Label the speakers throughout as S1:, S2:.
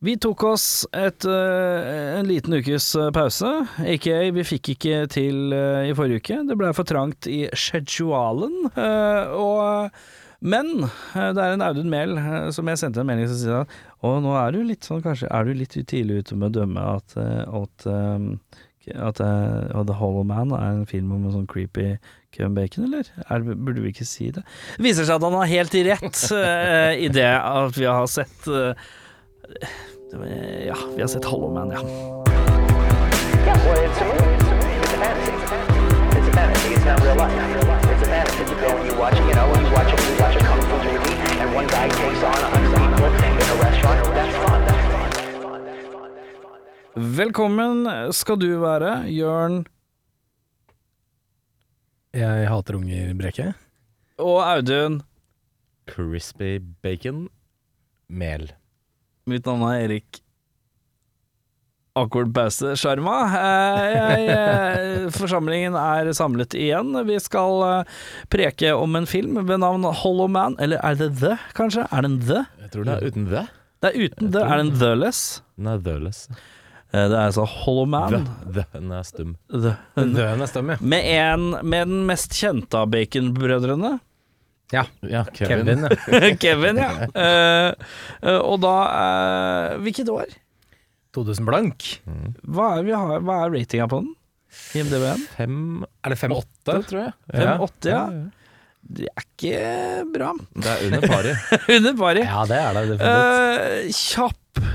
S1: Vi tok oss et, eh, en liten ukes eh, pause, aka vi fikk ikke til eh, i forrige uke. Det ble for trangt i schedualen. eh, og, men eh, det er en Audun Mehl eh, som jeg sendte en melding som sier at Og nå er du litt sånn, kanskje Er du litt tidlig ute med å dømme at, eh, at, eh, at eh, The Hollow Man er en film om en sånn creepy Kevin Bacon, eller? Er, burde vi ikke si det? Det viser seg at han har helt rett eh, i det at vi har sett eh, det var- Ja, vi har sett Hollow Man, ja.
S2: Yeah, well, it's a movie. It's a movie. It's a fantasy. It's a fantasy. It's not real life. It's a fantasy. You go and you watch, you know, you watch a, you watch a kung fu movie, and one guy takes on a hundred people in a restaurant. That's fun. That's fun. That's fun. That's fun. That's fun. That's fun.
S1: Velkommen skal du være, Jørn
S3: Jeg hater unger, Brekke.
S1: og Audun.
S4: Crispy bacon mel.
S1: Mitt navn er Erik. Awkward pause, sjarma. Eh, jeg, eh, forsamlingen er samlet igjen. Vi skal eh, preke om en film ved navn Hollow Man. Eller er det The, kanskje? Er det en The?
S3: Jeg tror
S4: Nei, uten det.
S1: Det er uten The. Er det en The-less?
S4: Den er the-less.
S1: Eh, Det er altså Hollow
S4: The.
S1: Man.
S4: The. Den er stum.
S1: The.
S3: Døden er stum, ja.
S1: Med, en, med den mest kjente av baconbrødrene.
S3: Ja,
S4: Ja, Kevin.
S3: Kevin. ja.
S1: Kevin, ja. Eh, eh, og da eh, Hvilket år?
S3: 2000 blank.
S1: Hva er, vi har, hva er ratinga på den? IMDb-en?
S4: Fem
S3: Er det 5-8?
S4: åtte, tror jeg.
S1: 5,80, ja. Det er ikke bra.
S4: Det er under pari.
S1: Under pari.
S3: Ja, det er det definitivt.
S1: Eh, kjapp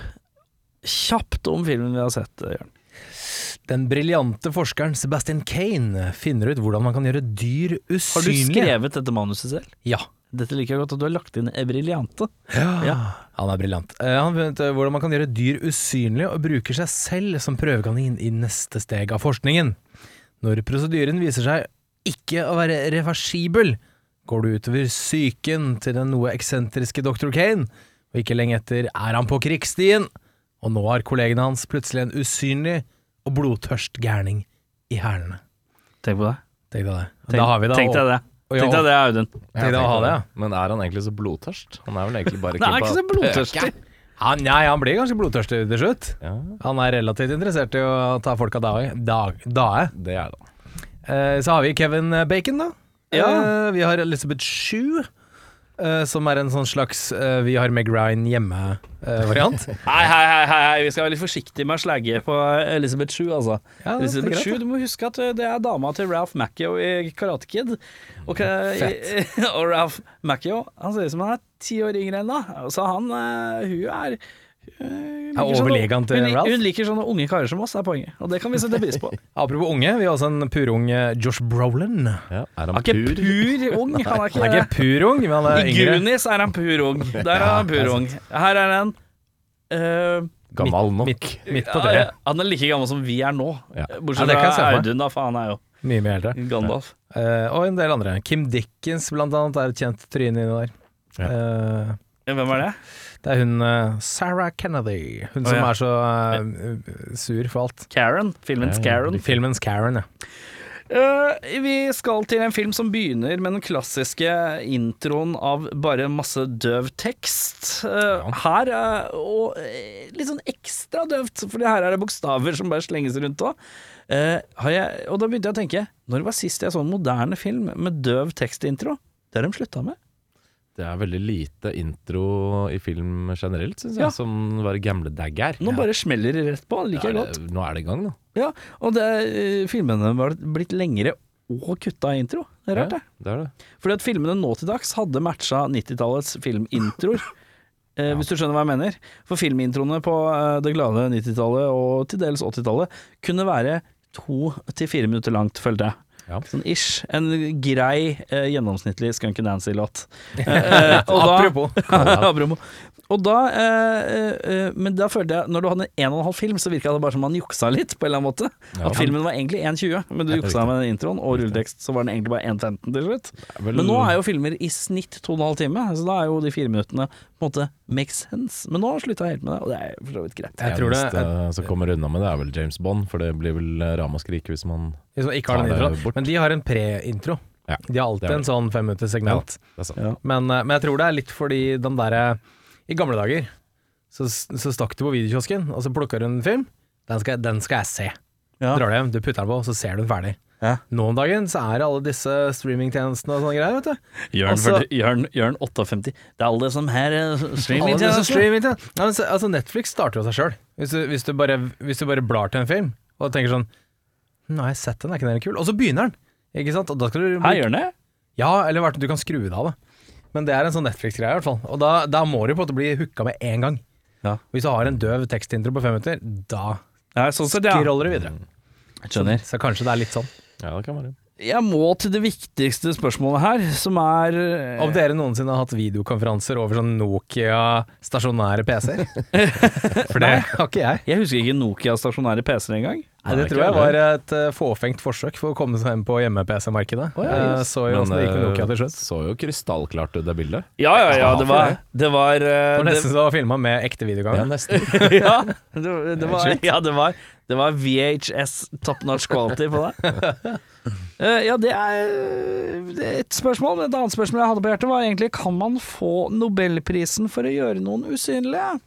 S1: Kjapt om filmen vi har sett, eh, Jørn.
S3: Den briljante forskeren Sebastian Kane finner ut hvordan man kan gjøre dyr usynlige.
S1: Har du skrevet dette manuset selv?
S3: Ja.
S1: Dette liker jeg godt at du har lagt inn briljante.
S3: Ja. Han er briljant. Eh, Han vet eh, hvordan man kan gjøre dyr usynlige og bruker seg selv som prøvekanin i neste steg av forskningen. Når prosedyren viser seg ikke å være reversibel, går det utover psyken til den noe eksentriske dr. Kane, og ikke lenge etter er han på krigsstien, og nå har kollegene hans plutselig en usynlig og blodtørst gærning i hælene.
S1: Tenk på det.
S3: Tenk deg det.
S1: Tenk,
S3: da har vi da
S1: tenk deg det.
S3: og-
S1: Tenk deg det, Audun.
S3: Tenk deg å ha det, ja.
S4: Men er han egentlig så blodtørst? Han er vel egentlig bare
S1: Det er ikke så
S4: keen på-
S1: blodtørstig.
S3: Han, nei, han blir ganske blodtørstig til slutt.
S4: Ja,
S3: Han er relativt interessert i å ta folk av dae. Dag, dae.
S4: det er det.
S3: Eh, så har vi Kevin Bacon, da.
S1: Ja.
S3: Eh, vi har Elizabeth Shue, eh, som er en sånn slags eh, vi har Meg Ryan eh, hjemme-variant.
S1: Hei, hei, hei, hei, hei, vi skal være litt forsiktige med å slagge på Elisabeth Shue, altså.
S3: Ja, det er
S1: Elisabeth
S3: greit,
S1: Shue, du må huske at uh, det er dama til Ralph Macchio i Karate Kid. Og, ka-
S3: Fett.
S1: og Ralph Macchio, han ser ut som han er ti år yngre enn da, så han, uh, hun er hun
S3: Er
S1: liker sånne-
S3: overlegen til
S1: hun, li-
S3: Ralph?
S1: Hun liker sånne unge karer som oss, er poenget. Og det kan vi sette pris på. Han
S3: Apropos unge, vi har også en purung eh, Josh Brolin.
S4: Ja, er han
S1: er ikke
S4: pur?
S1: pur ung. Han er
S3: Han er
S1: ikke,
S3: ikke pur ung, men han er
S1: I
S3: yngre.
S1: Goonies er han pur ung. Der er han pur ung. Her er han uh,
S4: Gammel nok.
S3: Midt, midt på treet.
S1: Han er like gammel som vi er nå.
S4: Ja.
S1: Bortsett
S3: Ja, det kan jeg se
S1: fra
S3: for meg.
S1: Audun, da, for han er jo
S3: Mye mer eldre.
S1: Gandalf.
S3: Eh, og en del andre. Kim Dickens, blant annet, er et kjent tryne inni der. Eh,
S1: Hvem er det?
S3: det er hun eh, Sarah Kennedy. Hun
S1: Å,
S3: som
S1: ja.
S3: er så eh, sur for alt.
S1: Karen. Filmens
S4: Ja,
S1: Karen.
S3: Filmens Karen, ja.
S1: Eh, vi skal til en film som begynner med den klassiske introen av bare masse døv tekst. Eh, Her, eh, og eh, litt sånn ekstra døvt, for her er det bokstaver som bare slenges rundt òg. og da begynte jeg å tenke, når var sist jeg så en moderne film med døv tekstintro? Det har de slutta med.
S4: Det er veldig lite intro i film generelt, syns jeg,
S1: Ja.
S4: som var gamle dagger.
S1: Nå bare smeller de rett på, det liker jeg
S4: er
S1: godt.
S4: det, nå er det i gang, da.
S1: Ja, og det, eh, filmene var blitt lengre og kutta i intro. Det er rart, det.
S4: Ja, det er det.
S1: Fordi at filmene nå til dags hadde matcha 90-tallets filmintroer. Eh, Hvis du skjønner hva jeg mener. For filmintroene på eh, det glade 90-tallet og til dels 80-tallet kunne være to til fire minutter langt, følte jeg.
S4: Ja.
S1: Sånn ish. En grei, eh, gjennomsnittlig Skunky Nancy-låt. Eh, eh, og da-
S3: Apropos.
S1: Apropos. Og da, eh, eh, men da følte jeg, når du hadde en og en halv film, så virka det bare som man juksa litt, på en eller annen måte.
S4: Ja.
S1: At filmen var egentlig 1,20, men du
S4: Ja,
S1: juksa med den introen og rulletekst, så var den egentlig bare 1,15 til slutt.
S4: Vel-
S1: Men nå er jo filmer i snitt 2,5 timer, så da er jo de fire minuttene på en måte make sense. Men nå slutta jeg helt med det, og det er for så vidt greit.
S3: Jeg tror det
S4: eneste eh, som kommer unna med det, er vel James Bond, for det blir vel eh, ramaskrik hvis man
S3: Liksom, ikke har den
S4: Tar det
S3: introen.
S4: bort.
S3: Men de har en pre-intro.
S4: Ja,
S3: De har alltid
S4: det er
S3: en sånn fem minutters segment.
S4: Det er sant.
S1: Ja.
S3: Men, eh, men jeg tror det er litt fordi den derre I eh, gamle dager Så, så stakk du på videokiosken, og så plukker du en film. Den skal, den skal jeg se. Drar du hjem, du putter den på, så ser du den ferdig.
S1: Ja.
S3: Nå om dagen så er det alle disse streamingtjenestene og sånne greier, vet du.
S1: Jørn,
S3: Altså-
S1: 40 Jørn, Jørn 58. Det er alle som her eh,
S3: Alle disse
S1: streamingtjenester.
S3: streamingtjenestene. Ja, men så- altså Netflix starter jo seg sjøl. Hvis, du- hvis, du bare- hvis du bare blar til en film og tenker sånn Nå har jeg sett den, er ikke den kul? Og så begynner den! Ikke sant? Og da skal du
S1: Hei, Jørn. eh? jeg.
S3: Ja, eller hvert- du kan skru det av, da. Men det er en sånn Netflix-greie, i hvert fall. Og da, da må du på en måte bli hooka med en gang.
S1: Ja.
S3: Hvis du har en døv tekstintro på fem minutter, da
S1: Ja, sånn sett, ja.
S3: scroller du videre.
S1: Skjønner.
S3: Så kanskje det er litt sånn.
S4: Ja, det kan være.
S1: Jeg må til det viktigste spørsmålet her, som er eh,
S3: Om dere noensinne har hatt videokonferanser over sånn Nokia-stasjonære PC-er? For det har ikke jeg.
S1: Jeg husker ikke Nokia stasjonære PC-er engang.
S3: Nei, det
S4: ikke
S3: tror jeg
S4: heller.
S3: var et eh, fåfengt forsøk for å komme seg hjem på hjemme-PC-markedet.
S1: Å, ja,
S3: Eh,
S1: yes.
S3: Så jo åssen det gikk med
S4: eh,
S3: Nokia til slutt.
S4: så jo krystallklart ut, det bildet.
S1: Ja, ja, ja, det var Det var,
S3: Det
S1: eh, det,
S3: var nesten så det var filma med ekte
S4: Ja,
S3: videokamera.
S4: nesten.
S1: ja, det, det var, ja, det var Det var VHS top notch quality på det. Eh, ja, det er eh, det er et spørsmål. Et annet spørsmål jeg hadde på hjertet, var egentlig kan man få Nobelprisen for å gjøre noen usynlige?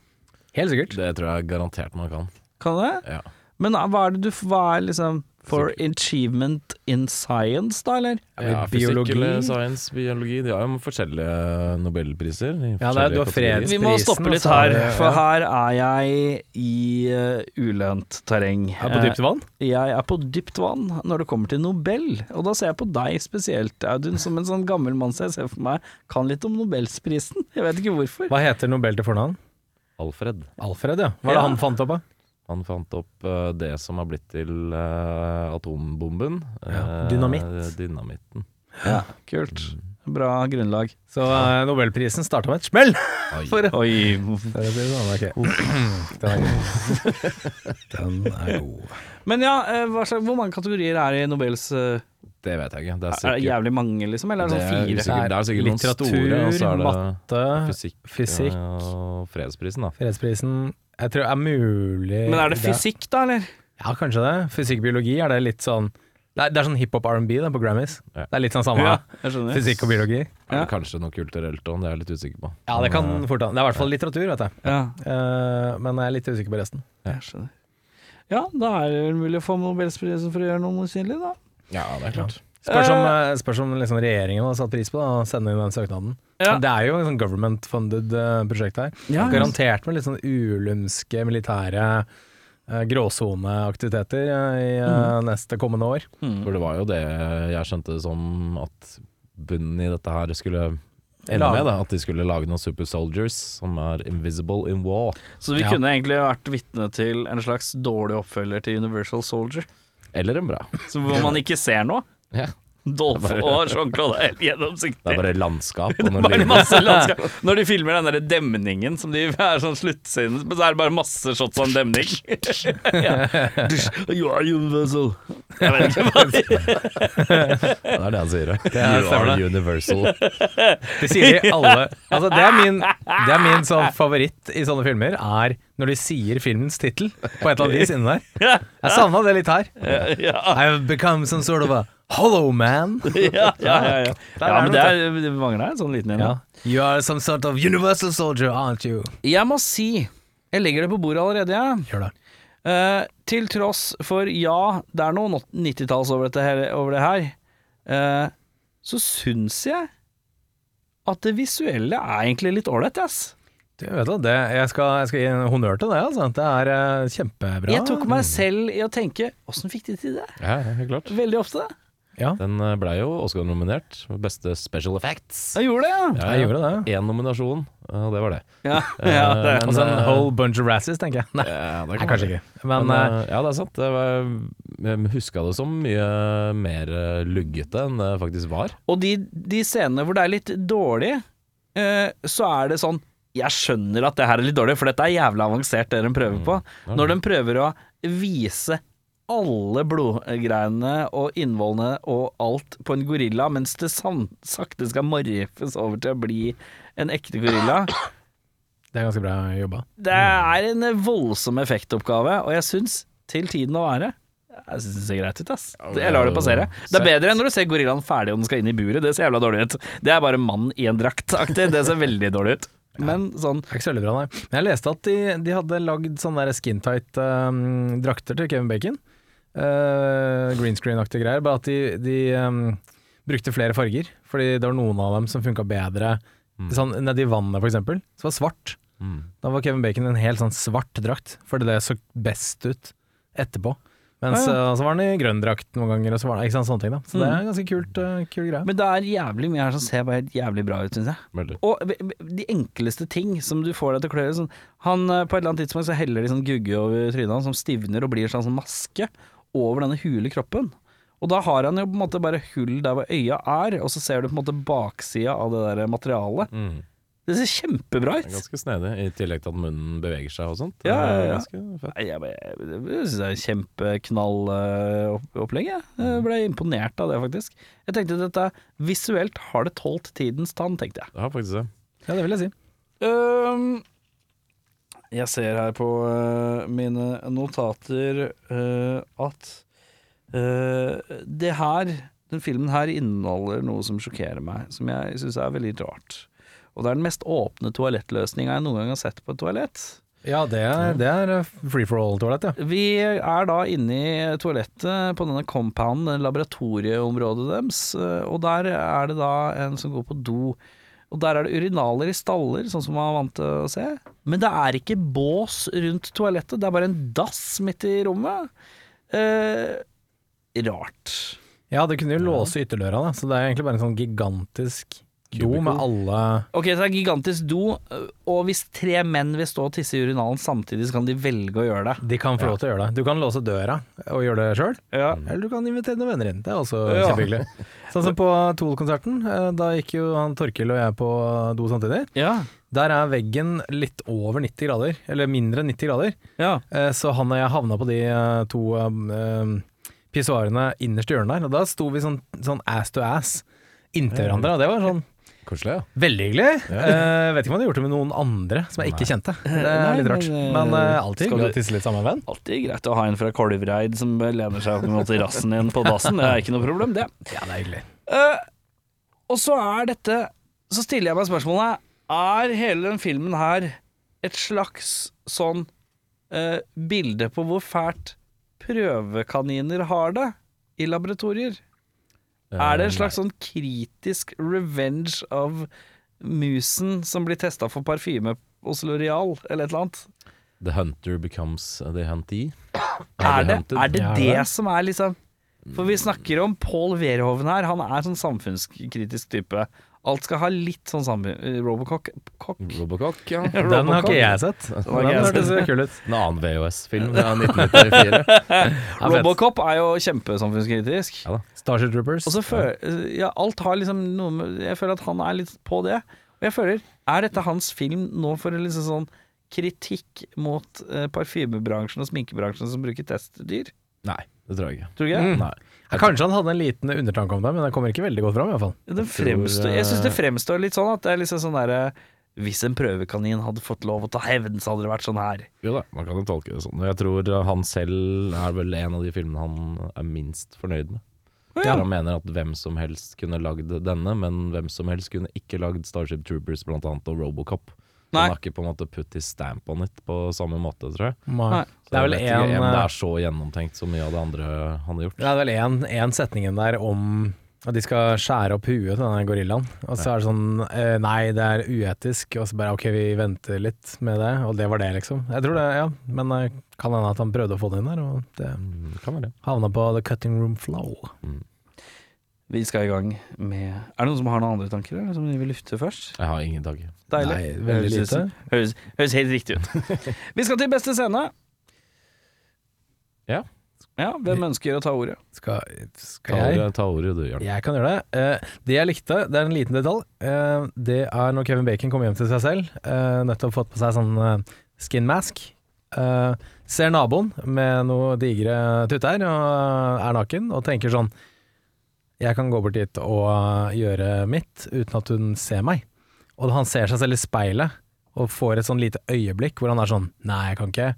S3: Helt sikkert.
S4: Det tror jeg garantert man kan.
S1: Kan det?
S4: Ja.
S1: Men eh, hva er det du Hva er liksom For achievement in science, da, eller?
S4: Ja,
S3: Eh, biologi.
S4: Fysikk eller science, biologi. De har jo forskjellige nobelpriser. i
S3: Ja, det er-
S4: forskjellige
S3: du har
S4: kategorier.
S3: freds-
S1: Vi må
S3: Prisen,
S1: stoppe litt
S3: altså,
S1: her,
S3: ja.
S1: for her er jeg i eh, ulønt terreng.
S3: Ja, på dypt vann.
S1: Jeg er på dypt vann når det kommer til Nobel, og da ser jeg på deg spesielt, Audun, som en sånn gammel mann som jeg ser for meg kan litt om Nobelsprisen. Jeg vet ikke hvorfor.
S3: Hva heter Nobel til fornavn?
S4: Alfred.
S3: Alfred, ja. Hva er det
S1: Ja.
S3: han fant opp, da?
S4: Han fant opp eh, det som har blitt til eh, atombomben.
S3: Ja,
S4: Eh,
S3: dynamitt.
S4: Dynamitten.
S1: Ja, kult. Bra grunnlag.
S3: Så eh, Nobelprisen starta med et smell!
S4: Oi.
S3: For en-
S1: Oi.
S3: Det blir sånn, ok. Den er god. Den er god.
S1: Men ja, eh, hva slags, hvor mange kategorier er det i Nobels eh,
S4: Det vet jeg ikke. Det er
S1: Er det
S4: sikkert
S1: jævlig mange, liksom? Eller er det sånn
S4: Det er
S1: fire?
S4: usikkert. Det er sikkert noen store, og så er
S3: Litteratur,
S4: det
S3: matte,
S4: fysikk,
S3: fysikk.
S4: ja, og fredsprisen, da.
S3: fredsprisen Jeg tror det er mulig
S1: Men er det fysikk, da, eller?
S3: Ja, kanskje det. Fysikk-biologi er det litt sånn Det er, det er sånn hiphop R&B da, på Grammys.
S4: Ja.
S3: Det er litt sånn samme.
S1: jeg skjønner.
S3: Fysikk og biologi. Eh.
S1: Ja.
S4: Eller kanskje noe kulturelt òg, det er jeg litt usikker på.
S3: Ja, det kan fort hende. Det er i hvert fall litteratur, vet jeg.
S1: Ja,
S3: Eh, men jeg er litt usikker på resten.
S1: jeg skjønner. Ja, da er det vel mulig å få Nobelsprisen for å gjøre noe usynlig, da.
S4: eh, Ja, det er klart.
S3: Spørs om, eh, spørs om liksom regjeringen har satt pris på det, og sende inn den søknaden.
S1: Ja.
S3: Det er jo et sånn government-funded eh, prosjekt her.
S1: Ja, ja.
S3: Garantert med litt sånn ulumske militære eh, gråsoneaktiviteter eh, i
S1: Mm.
S3: eh, neste kommende år.
S4: For det var jo det jeg skjønte som at bunnen i dette her skulle ende
S3: Lage-
S4: med, da. At de skulle lage noen super soldiers som er invisible in war.
S1: Så vi
S3: Ja.
S1: kunne egentlig vært vitne til en slags dårlig oppfølger til Universal Soldier.
S4: Eller en bra.
S1: Så hvor man ikke ser noe.
S4: Ja.
S1: Dolph og Jean-Claude er helt
S4: Det er
S1: gjennomsiktige.
S4: bare landskap og
S1: Det er
S4: noen
S1: bare
S4: linjer.
S1: masse landskap. Når de filmer den der demningen som de er sånn sluttscenen, men så er det bare masse shots av en demning. ja. You are universal. Jeg vet ikke hva de
S4: Det er det han sier.
S3: er-
S4: You
S3: stemmer
S4: are universal.
S3: Det sier de alle. Altså, det er min, det er min sånn favoritt i sånne filmer, er når de sier filmens tittel på et eller annet vis inni der.
S1: ja,
S3: Jeg savna det litt her.
S1: ja,
S3: I've become some sort of a hollow man.
S1: ja, ja, ja. ja, men det, er, det mangler en sånn liten en. da.
S3: Ja. You are some sort of universal soldier, aren't you?
S1: Jeg må si Jeg legger det på bordet allerede, jeg.
S3: Gjør det.
S1: Eh, til tross for ja, det er noe 90-talls over, dette her- over det her, eh, så syns jeg at det visuelle er egentlig litt ålreit, ass.
S3: Du vet da, det, jeg, skal, jeg skal gi en honnør til det. Altså. Det er eh, kjempebra.
S1: Jeg tok meg selv i å tenke åssen fikk de til det?
S4: Ja, ja, helt klart.
S1: Veldig ofte.
S4: Den eh, ble jo Oscar-nominert. Beste special effects.
S1: Jeg gjorde det,
S3: Jeg gjorde det.
S4: Én nominasjon, eh, og det var det.
S1: ja. ja, ja det.
S4: Men,
S3: Og så en
S4: eh,
S3: whole bunch of rasses, tenker jeg. Nei,
S4: Ja, det
S3: nei
S4: kan
S3: kanskje
S4: være.
S3: ikke. Men, eh,
S4: Men, eh, ja, det er sant. Det var, jeg huska det som mye mer eh, luggete enn det faktisk var.
S1: Og de, de scenene hvor det er litt dårlig, eh, så er det sånn Jeg skjønner at det her er litt dårlig, for dette er jævla avansert, Mm, det de prøver på. Når de prøver å vise alle blodgreiene og innvollene og alt på en gorilla, mens det sam- sakte skal morfes over til å bli en ekte gorilla.
S4: eh,
S3: det er ganske bra jobba.
S1: Det er en voldsom effektoppgave, og jeg syns, til tiden å være jeg synes det ser greit ut, ass. Jeg lar det passere. Det er bedre enn når du ser gorillaen ferdig og den skal inn i buret. Det ser jævla dårlig ut. Det er bare mann i en drakt-aktig. Det ser veldig dårlig ut. Men sånn
S3: Det er ikke så veldig bra, nei. Men jeg leste at de, de hadde lagd sånne der skintight ehm, drakter til Kevin Bacon. Uh, green screen-aktige greier. Bare at de, de ehm, brukte flere farger, fordi det var noen av dem som funka bedre
S4: Mm.
S3: sånn, nedi vannet, for eksempel. Så var det svart.
S4: Mm.
S3: Da var Kevin Bacon i en helt sånn svart drakt, fordi det så best ut etterpå. Mens
S1: Ah,
S3: eh, så var han i grønn drakt noen ganger, og så var han ikke sant, sånne ting, da. Så det er en ganske kult, eh, kul greie.
S1: Men det er jævlig mye her som ser bare helt jævlig bra ut, syns jeg.
S4: Veldig.
S1: Og v- v- de enkleste ting som du får deg til å klø i sånn, Han eh, på et eller annet tidspunkt så heller de sånn gugge over trynet hans som stivner og blir en slags sånn maske over denne hule kroppen. Og da har han jo på en måte bare hull der hvor øya er, og så ser du på en måte baksida av det der materialet.
S4: Mm.
S1: Det ser kjempebra
S4: Det er
S1: ut!
S4: Ganske snedig, i tillegg til at munnen beveger seg og sånt. Det
S1: Ja, ja,
S4: er
S1: ja.
S4: Ganske fett.
S1: Nei, jeg, jeg, jeg synes det er kjempeknallopplegg. Jeg. jeg ble imponert av det, faktisk. Jeg tenkte at dette visuelt har det tålt tidens tann, tenkte jeg.
S4: Det har faktisk det.
S3: Ja, det vil jeg si.
S1: Øhm, Ehm, jeg ser her på øh, mine notater øh, at øh, det her, den filmen her inneholder noe som sjokkerer meg, som jeg syns er veldig rart. Og det er den mest åpne toalettløsninga jeg noen gang har sett på et toalett.
S3: Ja, det er, det er eh, free for all-toalett, ja.
S1: Vi er da inne i toalettet på denne compounden, det laboratorieområdet deres, eh, og der er det da en som går på do. Og der er det urinaler i staller, sånn som man er vant til å se. Men det er ikke bås rundt toalettet, det er bare en dass midt i rommet. Eh, rart.
S3: Ja, det kunne jo låse ytterdøra, da, så det er egentlig bare en sånn gigantisk do
S4: Cubicle.
S3: med alle
S1: Ok, så det er gigantisk do, eh, og hvis tre menn vil stå og tisse i urinalen samtidig, så kan de velge å gjøre det.
S3: De kan få lov til å gjøre det. Du kan låse døra og gjøre det sjøl, eller du kan invitere noen venner inn. Det er også
S1: Ja.
S3: kjempehyggelig. Sånn som på Tool-konserten, eh, da gikk jo han Torkil og jeg på do samtidig.
S1: Ja.
S3: Der er veggen litt over 90 grader, eller mindre enn 90 grader,
S1: ja.
S3: Eh, så han og jeg havna på de eh, to eh, pissoarene innerst i hjørnet der, og da sto vi sånn, sånn ass to ass inntil hverandre, og det var sånn
S4: Koselig, ja.
S3: Veldig hyggelig. Eh, vet ikke om han hadde gjort det med noen andre som jeg ikke kjente. Det
S1: Nei,
S3: er litt rart.
S1: men, eh,
S3: Men eh, alltid
S1: skal
S3: hyggelig
S1: du-
S3: å tisse litt sammen med en venn.
S1: Alltid greit å ha en fra Kolvreid som lener seg opp mot rassen din på dassen. Det er ikke noe problem, det.
S3: Ja, det er hyggelig.
S1: Eh, og så er dette Så stiller jeg meg spørsmålet Er hele den filmen her et slags sånn eh, bilde på hvor fælt prøvekaniner har det i laboratorier? Er
S4: Eh,
S1: det en slags sånn kritisk revenge av musen som blir testa for parfyme hos Loreal, eller et eller annet?
S4: Eh, The hunter becomes the huntee.
S1: Er
S4: de
S1: det,
S4: hunted?
S1: er det
S3: Ja,
S1: det
S3: vel.
S1: som er liksom For vi snakker om Pål Verhoeven her. Han er sånn samfunnskritisk type. Alt skal ha litt sånn samfunn... Robocock kokk.
S3: Mm.
S4: Robocop, ja.
S3: Den har ikke jeg sett.
S1: har ikke
S3: Den
S1: jeg
S3: hørtes
S1: sett.
S3: kul ut.
S4: En annen VHS-film fra 1994.
S3: fett.
S1: Robocop er jo kjempesamfunnskritisk.
S4: Ja da.
S3: Starship Troopers.
S1: Og så føler Ja, alt har liksom noe med Jeg føler at han er litt på det. Og jeg føler Er dette hans film nå for en liksom sånn kritikk mot eh, parfymebransjen og sminkebransjen som bruker testdyr?
S4: Nei, det tror jeg ikke. Mm.
S1: Tror du
S3: Mm.
S1: ikke?
S4: Nei.
S3: Ja, Kanskje han hadde en liten undertanke om det, men den kommer ikke veldig godt fram i hvert fall.
S1: Den
S4: tror,
S1: fremstår, jeg syns det
S4: eh,
S1: fremstår litt sånn at det er liksom sånn derre Hvis en prøvekanin hadde fått lov å ta hevn, så hadde det vært sånn her.
S4: Jo da, man kan jo tolke det sånn. Jeg tror han selv er vel en av de filmene han er minst fornøyd med.
S1: ja.
S4: Han mener at hvem som helst kunne lagd denne, men hvem som helst kunne ikke lagd Starship Troopers blant annet og Robocop.
S1: Nei.
S4: Han har ikke på en måte putt his stamp on it på samme måte, tror jeg.
S1: Nei.
S4: Så
S3: Det er vel
S4: jeg vet ikke
S3: en,
S4: om det
S3: eh,
S4: er så gjennomtenkt som mye av det andre han har gjort.
S3: Det er vel en, en setningen der om at de skal skjære opp huet til denne gorillaen. Og så er det sånn eh, Nei, det er uetisk. Og så bare ok, vi venter litt med det. Og det var det, liksom. Jeg tror det, ja. Men eh, kan hende at han prøvde å få det inn der, og det
S4: Mm, Kan være det.
S3: havna på the cutting room flow.
S1: Vi skal i gang med Er det noen som har noen andre tanker, eller som de vil lufte først?
S4: Jeg har ingen tanke.
S1: Deilig.
S3: Nei, veldig
S1: Høres ut
S3: lite.
S1: som- Høres, høres helt riktig ut. Vi skal til beste scene.
S4: Ja.
S1: Ja, Hvem ønsker å ta ordet?
S3: Skal,
S4: Ta
S3: skal jeg?
S4: ordet, ta ordet du, Jørn.
S3: Jeg kan gjøre det. Eh, det jeg likte, det er en liten detalj, eh, det er når Kevin Bacon kommer hjem til seg selv, eh, nettopp fått på seg sånn eh, skin mask, eh, ser naboen med noe digre tutter og er naken, og tenker sånn Jeg kan gå bort dit og eh, gjøre mitt uten at hun ser meg. Og han ser seg selv i speilet og får et sånn lite øyeblikk hvor han er sånn Nei, jeg kan ikke.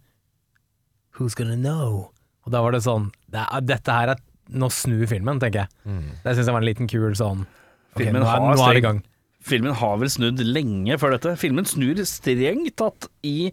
S3: Who's gonna know? Og da var det sånn det er, Dette her er Nå snur filmen, tenker jeg. Det syns jeg var en liten kul sånn
S1: Mm.
S3: ok,
S1: Filmen
S3: nå, er,
S1: har
S3: nå er vi i
S1: streng-
S3: gang.
S1: Filmen har vel snudd lenge før dette. Filmen snur strengt tatt i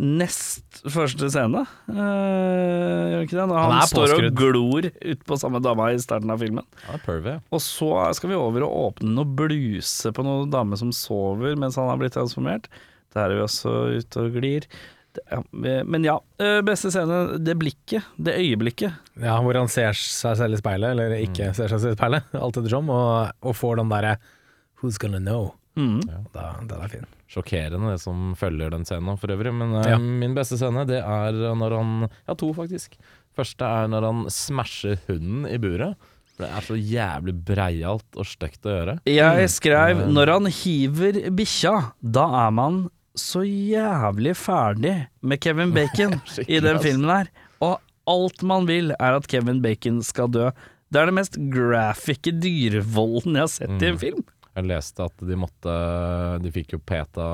S1: nest første scene. Eh, Gjør den ikke det? Når han,
S3: Han er
S1: står og
S3: påskrudd.
S1: glor ut på samme dama i starten av filmen.
S4: Ja, pervy.
S1: Og så skal vi over og åpne noe bluse på noen dame som sover mens han har blitt transformert. Der er vi også ute og glir. Det- ja, Men ja, eh, beste scene, det blikket, det øyeblikket.
S3: Ja, hvor han ser seg selv i speilet, eller ikke
S1: Mm.
S3: ser seg selv i speilet, alt ettersom, og, og får den derre Who's gonna know?
S1: Mm.
S3: Da, den er fin.
S4: Sjokkerende det som følger den scenen for øvrig. Men eh,
S3: Ja.
S4: min beste scene det er når han Ja, to faktisk. Første er når han smasher hunden i buret. For det er så jævlig breialt og stygt å gjøre.
S1: Jeg skrev når han hiver bikkja, da er man så jævlig ferdig med Kevin Bacon i den
S4: ass.
S1: filmen her. Og alt man vil er at Kevin Bacon skal dø. Det er det mest graphice dyrevolden jeg har sett i en film.
S4: Jeg leste at de måtte De fikk jo PETA,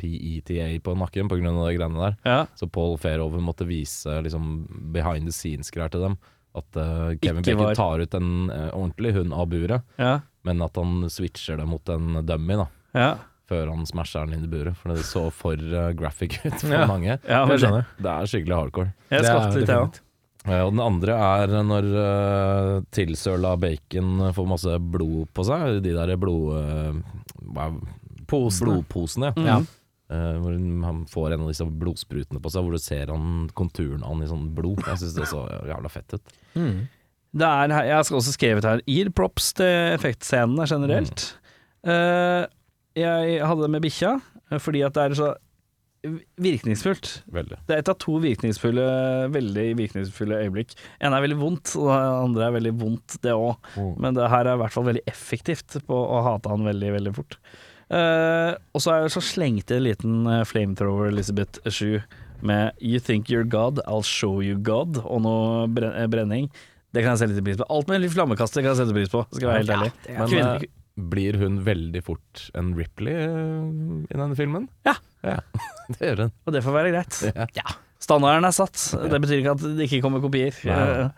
S4: PETA på nakken pga. de greiene der.
S1: Ja.
S4: Så Paul Fairhoven måtte vise liksom, behind the scenes-greier til dem. At eh, Kevin
S1: Ikke
S4: Bacon
S1: var-
S4: tar ut en eh, ordentlig hund av buret,
S1: Ja,
S4: men at han switcher det mot en dummy da
S1: ja.
S4: før han smasher den inn i buret. For det så for eh, graphic ut for
S3: Ja.
S4: mange.
S1: Ja, men
S3: Jeg skjønner.
S4: Det er skikkelig hardcore.
S1: Jeg
S3: Det er
S1: skvatt litt, jeg òg.
S3: definitivt.
S4: Eh, Og den andre er når uh, tilsøla bacon får masse blod på seg. De der blod... eh, hva er- Blodposene,
S1: Mm.
S4: ja.
S3: Ja.
S4: Eh, hvor hun- han får en av disse blodsprutene på seg, hvor du ser han konturen av han i sånn blod. Jeg syns det så jævla fett ut.
S1: Mm. Det er, her- jeg skal også skrevet her Gir props til effektscenene generelt. Eh, jeg hadde det med bikkja, eh, fordi at det er så virkningsfullt.
S4: Veldig.
S1: Det er et av to virkningsfulle, veldig virkningsfulle øyeblikk. En er veldig vondt, og det andre er veldig vondt, det òg.
S4: Mm.
S1: Men det her er i hvert fall veldig effektivt på å hate han veldig, veldig fort. Eh, og så er jeg så slengt i en liten eh, flamethrower Elizabeth 7 med You think you're God, I'll show you God, og noe bren eh, brenning. Det kan jeg sette litt pris på. Alt med litt flammekaster kan jeg sette pris på, skal jeg være helt ærlig.
S4: Men
S1: Kvinne-
S4: eh, blir hun veldig fort en Ripley eh, i denne filmen?
S1: Ja.
S4: det gjør hun.
S1: Og det får være greit.
S4: Ja.
S1: Standarden er satt. Det betyr ikke at det ikke kommer kopier.
S4: Nei.
S1: Eh,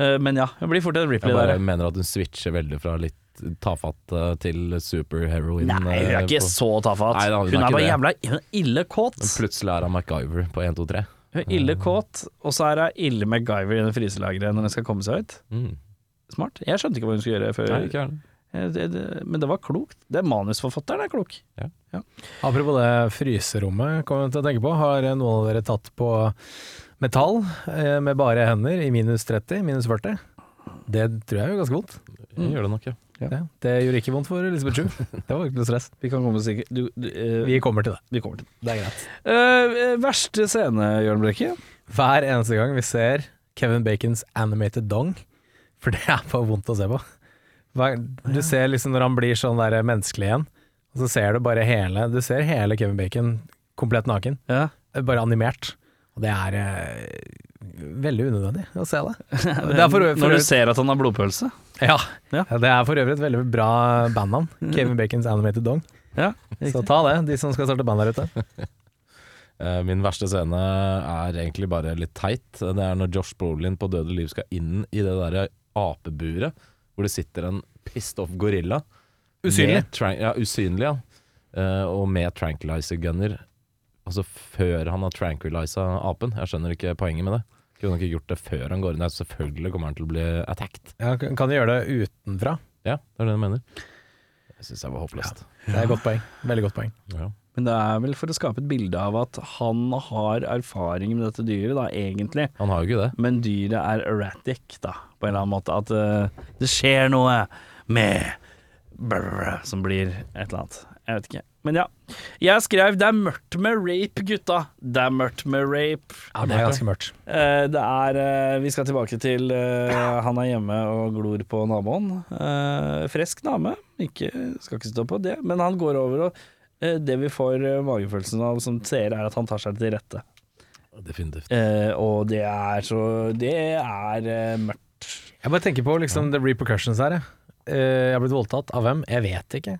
S1: eh, men ja, det blir fort en
S4: Jeg
S1: Ripley
S4: bare
S1: der.
S4: mener at hun switcher veldig fra litt tafatt eh, til superheroin.
S1: Nei, hun er
S4: eh,
S1: ikke
S4: på-
S1: så tafatt.
S4: Nei, da, hun
S1: Hun
S4: er
S1: er
S4: ikke
S1: bare jævla hun er ille kåt.
S4: Men Plutselig er hun MacGyver på 1, 2, 3.
S1: Hun er ille kåt, og så er hun ille MacGyver i det fryselageret når hun skal komme seg ut.
S4: Mm.
S1: Smart. Jeg skjønte ikke hva hun skulle gjøre før.
S4: Nei, ikke gjerne.
S1: Eh, det, det, men det var klokt. Det er manusforfatteren er klok.
S3: Apropos det fryserommet, kom jeg til å tenke på. Har noen av dere tatt på metall eh, med bare hender i minus 30, minus 40? Det tror jeg gjør ganske vondt.
S4: Mm. Jeg gjør det nok, ja.
S3: Ja, det gjorde ikke vondt for Elisabeth Sju. Det var ikke noe stress.
S1: Vi kan komme sikkert du, du, eh,
S3: Vi kommer til det.
S1: vi kommer til det.
S3: Det er greit.
S1: Eh, eh, verste scene, Jørn Brekke?
S3: Hver eneste gang vi ser Kevin Bacons animated dong, for det er bare vondt å se på. Hver, du ser liksom når han blir sånn der menneskelig igjen, og så ser du bare hele Du ser hele Kevin Bacon komplett naken,
S1: Ja.
S3: Eh, bare animert. Og det er eh, veldig unødvendig å se det. Det er for, for
S1: Når du ser at han har blodpølse?
S3: ja.
S1: Ja.
S3: Ja, det er for øvrig et veldig bra bandnavn. Kevin Bacons Animated Dong.
S1: Ja.
S3: Så ta det, de som skal starte band der ute.
S4: Eh, Min verste scene er egentlig bare litt teit. Det er når Josh Brolin på Døde liv skal inn i det derre apeburet, hvor det sitter en pissed off gorilla.
S3: Usynlig.
S4: Med tran- Ja, usynlig, ja. Eh, og med tranquilizer gunner. Altså før han har tranquiliza apen. Jeg skjønner ikke poenget med det. Kunne han ikke gjort det før han går inn der? Selvfølgelig kommer han til å bli attacked.
S3: Ja, kan kan du gjøre det utenfra?
S4: Ja, det er det jeg mener. Jeg syns jeg var håpløst.
S3: Det er et godt poeng. Veldig godt poeng.
S4: Ja.
S1: Men det er vel for å skape et bilde av at han har erfaring med dette dyret, da, egentlig.
S4: Han har jo ikke det.
S1: Men dyret er erratic, da, på en eller annen måte. At eh, det skjer noe med brr, Som blir et eller annet. Jeg vet ikke. Men ja. Jeg skrev 'det er mørkt med rape', gutta. Det er mørkt med rape.
S3: Ja, det er ganske mørkt.
S1: Eh, det er eh, Vi skal tilbake til eh, han er hjemme og glor på naboen. Eh, fresk dame. Ikke, skal ikke stå på det. Men han går over, og eh, det vi får eh, magefølelsen av som seere, er at han tar seg til rette.
S4: Definitivt.
S1: Eh, og det er så Det er eh, mørkt.
S3: Jeg bare tenker på liksom the repercussions her. jeg. Eh, jeg har blitt voldtatt. Av hvem? Jeg vet ikke.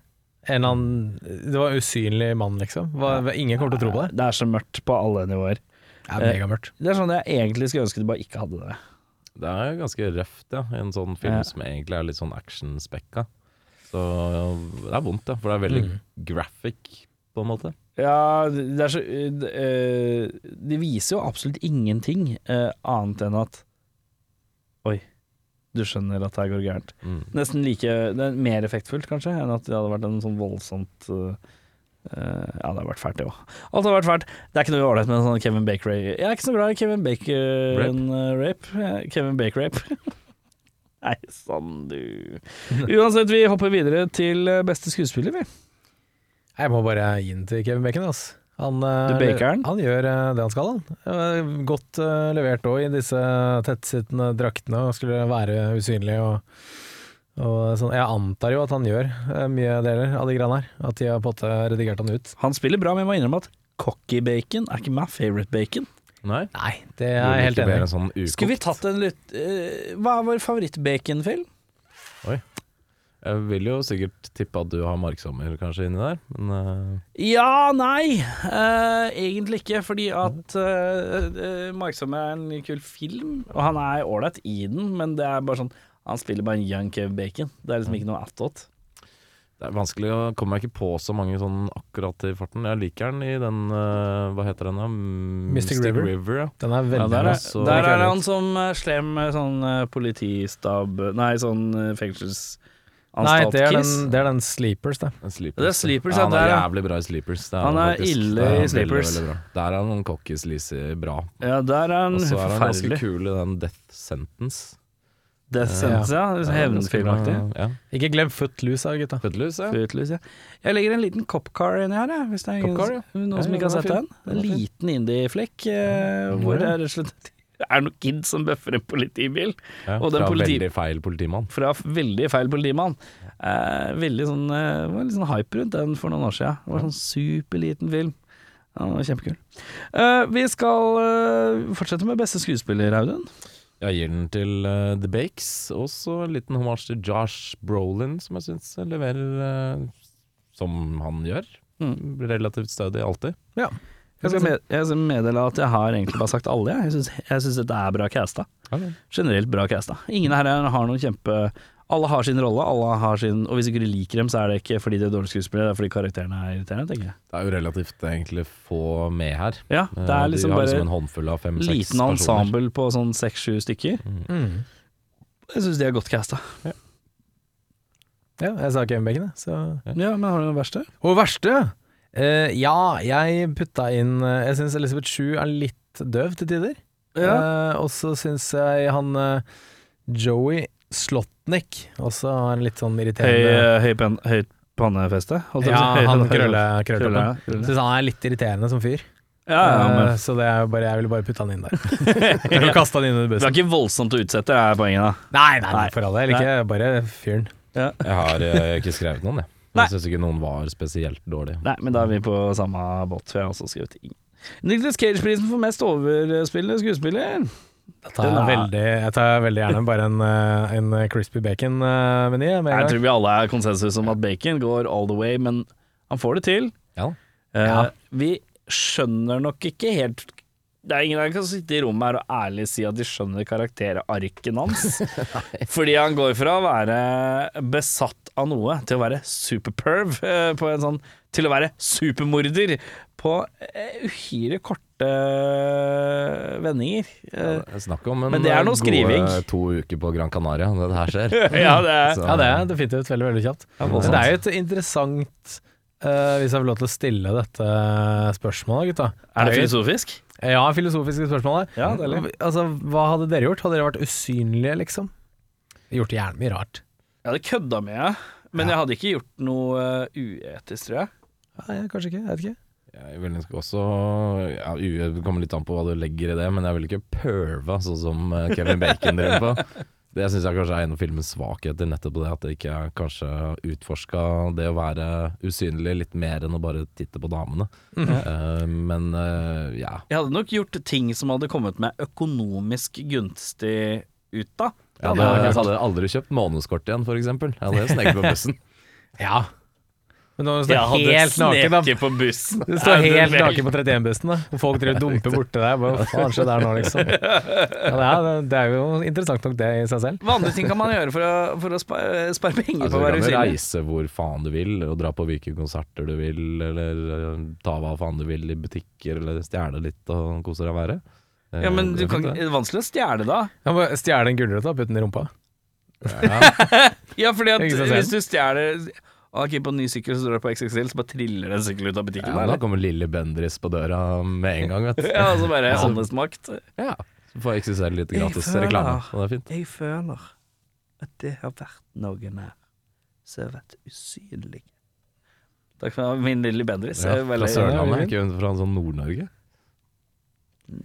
S3: En eller annen Det var en usynlig mann, liksom. Hva- ingen kommer til å tro på det.
S1: Det er så mørkt på alle nivåer.
S3: Det er megamørkt.
S1: Det er sånn jeg egentlig skulle ønske de bare ikke hadde det.
S4: Det er ganske røft, ja. I en sånn film
S1: Ja.
S4: som egentlig er litt sånn actionspekka. Så det er vondt, ja, for det er veldig
S1: Mm.
S4: graphic, på en måte.
S1: Ja, det er så det, eh, det viser jo absolutt ingenting eh, annet enn at Oi, du skjønner at det her går gærent.
S4: Mm.
S1: Nesten like Det er mer effektfullt, kanskje, enn at det hadde vært en sånn voldsomt eh, eh, ja, det har vært fælt, det òg. Alt har vært fælt. Det er ikke noe ålreit med en sånn Kevin Bacon-rape. Jeg er ikke så glad i Kevin Bacon-rape. Kevin Bacon-rape. Nei, sann du. Uansett, vi hopper videre til eh, beste skuespiller, vi.
S3: Jeg må bare gi den til Kevin Bacon. ass. Han, eh,
S1: Du baker den?
S3: han gjør eh, det han skal, han. Eh, Godt eh, levert òg i disse tettsittende draktene, og skulle være usynlig og, og sånn. Jeg antar jo at han gjør eh, mye deler av de greiene her. At de har på en måte redigert han ut.
S1: Han spiller bra, men jeg må innrømme at cocky bacon er ikke my favorite bacon.
S4: Nei?
S3: Nei, det er jeg helt enig i.
S4: en sånn ukokt.
S1: Skulle vi tatt en lytt... eh, hva er vår favoritt-baconfilm?
S4: Jeg vil jo sikkert tippe at du har Markshammer kanskje inni der, men eh,
S1: Ja, nei, eh, egentlig ikke, fordi at uh, Marksommer er en kul film, og han er ålreit i den, men det er bare sånn Han spiller bare en young Kev Bacon. Det er liksom ikke noe attåt.
S4: det er vanskelig å komme meg ikke på så mange sånn akkurat i farten. Jeg liker den i den eh, Hva heter den, da? Mm,
S3: Mystic River.
S4: ja.
S3: Den er
S1: Ja,
S3: veldig
S1: der,
S3: bra.
S1: er,
S4: så-
S1: der er han som eh, slem eh, sånn eh, politistab Nei, sånn eh,
S3: Nei, det er, den,
S1: fengselsanstalt-kiss.
S3: det er den Sleepers, det.
S4: En Sleepers.
S1: Det er Sleepers,
S4: ja,
S1: ja,
S4: han
S1: der
S4: er
S1: er-
S4: jævlig bra i Sleepers. Det
S1: Han er
S4: faktisk.
S1: ille
S4: Det er
S1: i
S4: veldig,
S1: Sleepers.
S4: veldig bra. Der er han cocky sleazy bra.
S1: Ja, der er han
S4: Og så er han ganske
S1: forferdelig.
S4: kul i den Death Sentence.
S1: Death Sentence, ja.
S4: Det
S1: ja.
S4: er ganske bra,
S1: Hevnfilmaktig.
S4: Ja.
S3: Ikke glem Footloose da, gutta.
S4: Footloose, ja.
S1: Footloose, ja. Jeg legger en liten copcar inni her, jeg, hvis det er ingen,
S4: Copcar, ja.
S1: noen
S4: Ja,
S1: som
S4: ja,
S1: ikke har
S4: den
S1: sett
S4: var
S1: den.
S4: fin.
S1: En
S4: Den var fin.
S1: liten indie-flekk eh, hvor det er rett og slett det er noen kids som bøffer en politibil,
S4: ja.
S1: Og den
S4: Fra
S1: politi-
S4: veldig feil politimann.
S1: fra veldig feil politimann. Eh, veldig sånn, eh, det var litt sånn hype rundt den for noen år siden. Det var sånn superliten film. Ja, den var kjempekul. Eh, vi skal eh, fortsette med beste skuespiller, Audun.
S4: Jeg gir den til eh, The Bakes, og så en liten hommage til Josh Brolin, som jeg syns leverer eh, som han gjør.
S1: Mm.
S4: Relativt stødig alltid.
S3: Ja.
S1: Jeg skal, med, jeg skal meddele at jeg har egentlig bare sagt alle, jeg. Jeg syns- Jeg syns dette er bra casta. generelt bra casta. Ingen her har noen kjempe Alle har sin rolle, alle har sin Og hvis ikke du liker dem, så er det ikke fordi de er dårlige skuespillere, det er fordi karakterene er irriterende, tenker jeg.
S4: Det er jo relativt egentlig få med her.
S1: Ja, det
S4: Eh,
S1: er liksom
S4: De har liksom
S1: bare
S4: en håndfull av
S1: en
S4: fem-seks personer.
S1: liten ensemble på sånn seks-sju stykker.
S3: Mm.
S1: Jeg syns de er godt casta.
S3: Ja, jeg sa Kevin Bacon, jeg. Så
S1: Ja, men har du noe verste?
S3: Og verste eh, Ja, jeg putta inn eh, Jeg syns Elisabeth Shue er litt døv til tider. Eh, og så syns jeg han eh, Joey Slotnick også har en litt sånn
S1: Eh, Høy,
S3: irriterende
S1: høy, pen, høyt pannefeste? holdt jeg på
S3: Ja,
S1: å si. Høy-
S3: han
S1: høy-
S3: krølle,
S1: krølle,
S3: krølletoppen.
S1: krølle.
S3: Syns han er litt irriterende som fyr.
S1: Ja, ja,
S3: Eh,
S1: men
S3: så det er jo bare, jeg ville bare putta han inn der. Jeg ville kaste han inn under
S1: Du er
S3: bussen.
S1: ikke voldsomt å utsette, er poenget, da.
S3: Nei, nei,
S1: Nei.
S3: for all del. Ikke bare fyren.
S4: Jeg har eh, ikke skrevet noen, jeg.
S1: Nei.
S4: Jeg syns ikke noen var spesielt dårlig.
S1: Nei, men da er vi på samme båt, for jeg har også skrevet ingen. Nicholas Cage-prisen for mest overspillende skuespiller.
S3: Jeg tar,
S1: Den er-
S3: veldig, jeg tar veldig gjerne bare en, eh, en crispy eh, bacon-meny.
S1: Jeg tror vi alle er konsensus om at bacon går all the way, men han får det til.
S4: Ja.
S1: Eh,
S3: Ja.
S1: Vi skjønner nok ikke helt Det er ingen som kan sitte i rommet her og ærlig si at de skjønner karakterarken hans. Fordi han går fra å være besatt av noe til å være superperv eh, på en sånn Til å være supermorder på eh, uhyre korte vendinger. Eh,
S4: Jeg snakker om en
S1: Men det er noe
S4: eh, gode
S1: skriving.
S4: to uker på Gran Canaria når det her skjer.
S1: Ja, det er-
S4: Så-
S3: Ja, det er definitivt veldig, veldig kjapt. Men
S4: voldsomt.
S3: det er jo et interessant eh, Hvis jeg får lov til å stille dette spørsmålet, gutta.
S1: Er det
S3: jo-
S1: filosofisk?
S3: Ja, filosofiske spørsmålet.
S1: Ja, deilig.
S3: altså, hva hadde dere gjort? Hadde dere vært usynlige, liksom? Gjort jævlig mye rart.
S1: Jeg hadde kødda med det, men jeg hadde ikke gjort noe eh, uetisk, tror jeg.
S3: Nei, kanskje ikke. Jeg vet ikke.
S4: Jeg vil nok også ja, u- Det kommer litt an på hva du legger i det, men jeg vil ikke pørve sånn som eh, Kevin Bacon drev på. Det syns jeg kanskje er en av filmens svakheter, nettopp på det at det ikke er kanskje utforska det å være usynlig litt mer enn å bare titte på damene.
S1: Mhm.
S4: Eh, men eh, ja.
S1: Jeg hadde nok gjort ting som hadde kommet meg økonomisk gunstig ut av.
S4: Jeg hadde, jeg hadde aldri kjøpt månedskort igjen, for eksempel. Jeg hadde sneket på bussen.
S3: Ja. Men nå står du helt naken, da.
S5: på bussen.
S3: Du står helt naken på 31-bussen, da. Og Folk driver og dumper borti deg. Bare, Hva faen skjer der nå, liksom? Ja, det, er, det er jo interessant nok, det i seg selv.
S1: Hva andre ting kan man gjøre for å, for å spa- eh, spare penger
S4: Altså,
S1: på å
S4: du
S1: være
S4: kan jo
S1: usynlig?
S4: reise hvor faen du vil, og dra på hvilke konserter du vil, eller eh, ta hva faen du vil i butikker, eller stjele litt og kose deg med været. Eh,
S1: Ja, men du
S4: det er
S1: kan,
S4: fint,
S1: det
S4: det.
S1: er vanskelig å stjele da.
S3: Jeg må stjele en gulrot og putte den i rumpa.
S1: Ja, fordi at
S3: Ikke sant,
S1: hvis du stjeler Ok, på en ny sykkel så står det på XXL, så bare triller det en sykkel ut av butikken
S4: ja,
S1: der.
S4: Da kommer lille Bendris på døra med en gang, vet du.
S1: Ja, og så bare åndes makt.
S4: Ja. Så får XXL litt
S1: Jeg
S4: gratis
S1: føler-
S4: reklame, og det er fint.
S1: Jeg føler at det har vært noen her som har vært usynlig. Takk for min lille Bendris.
S4: Ja,
S1: Jeg, er
S4: fra
S1: veldig-
S4: Sørlandet, ikke fra en sånn Nord-Norge.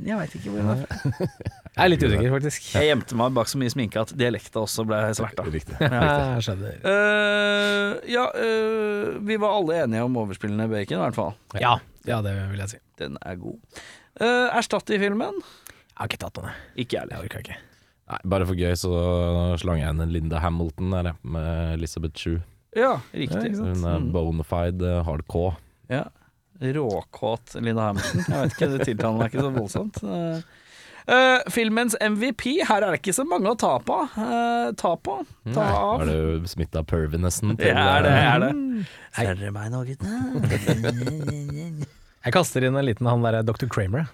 S1: jeg vet ikke hvor den er fra.
S3: Jeg er litt usikker, faktisk.
S1: Jeg gjemte meg bak så mye sminke at dialekta også ble sverta.
S4: Riktig.
S3: Ja, jeg skjønner.
S1: Eh, ja, eh, vi var alle enige om overspillende bacon, i hvert fall.
S3: Ja, ja, det vil jeg si.
S1: Den er god. Eh, erstatt i filmen?
S3: Jeg har ikke tatt den, jeg.
S1: Ikke jeg heller.
S3: Jeg orker ikke.
S4: Nei, bare for gøy, så slang jeg inn en Linda Hamilton der, jeg, med Elizabeth Shue.
S1: Ja, Mm. riktig.
S4: Hun er bona fide eh, hardcore.
S1: Ja. Råkåt Linda Hamilton. Jeg vet ikke, Det tiltaler meg ikke så voldsomt. Eh, eh, filmens MVP. Her er det ikke så mange å ta på. Eh, ta på. Ta av.
S4: Er du smitta av pervinessen
S1: Det
S4: til
S1: er det.
S4: eh,
S1: er det. Ser dere meg nå, guttene?
S3: Jeg kaster inn en liten han derre Dr. Kramer.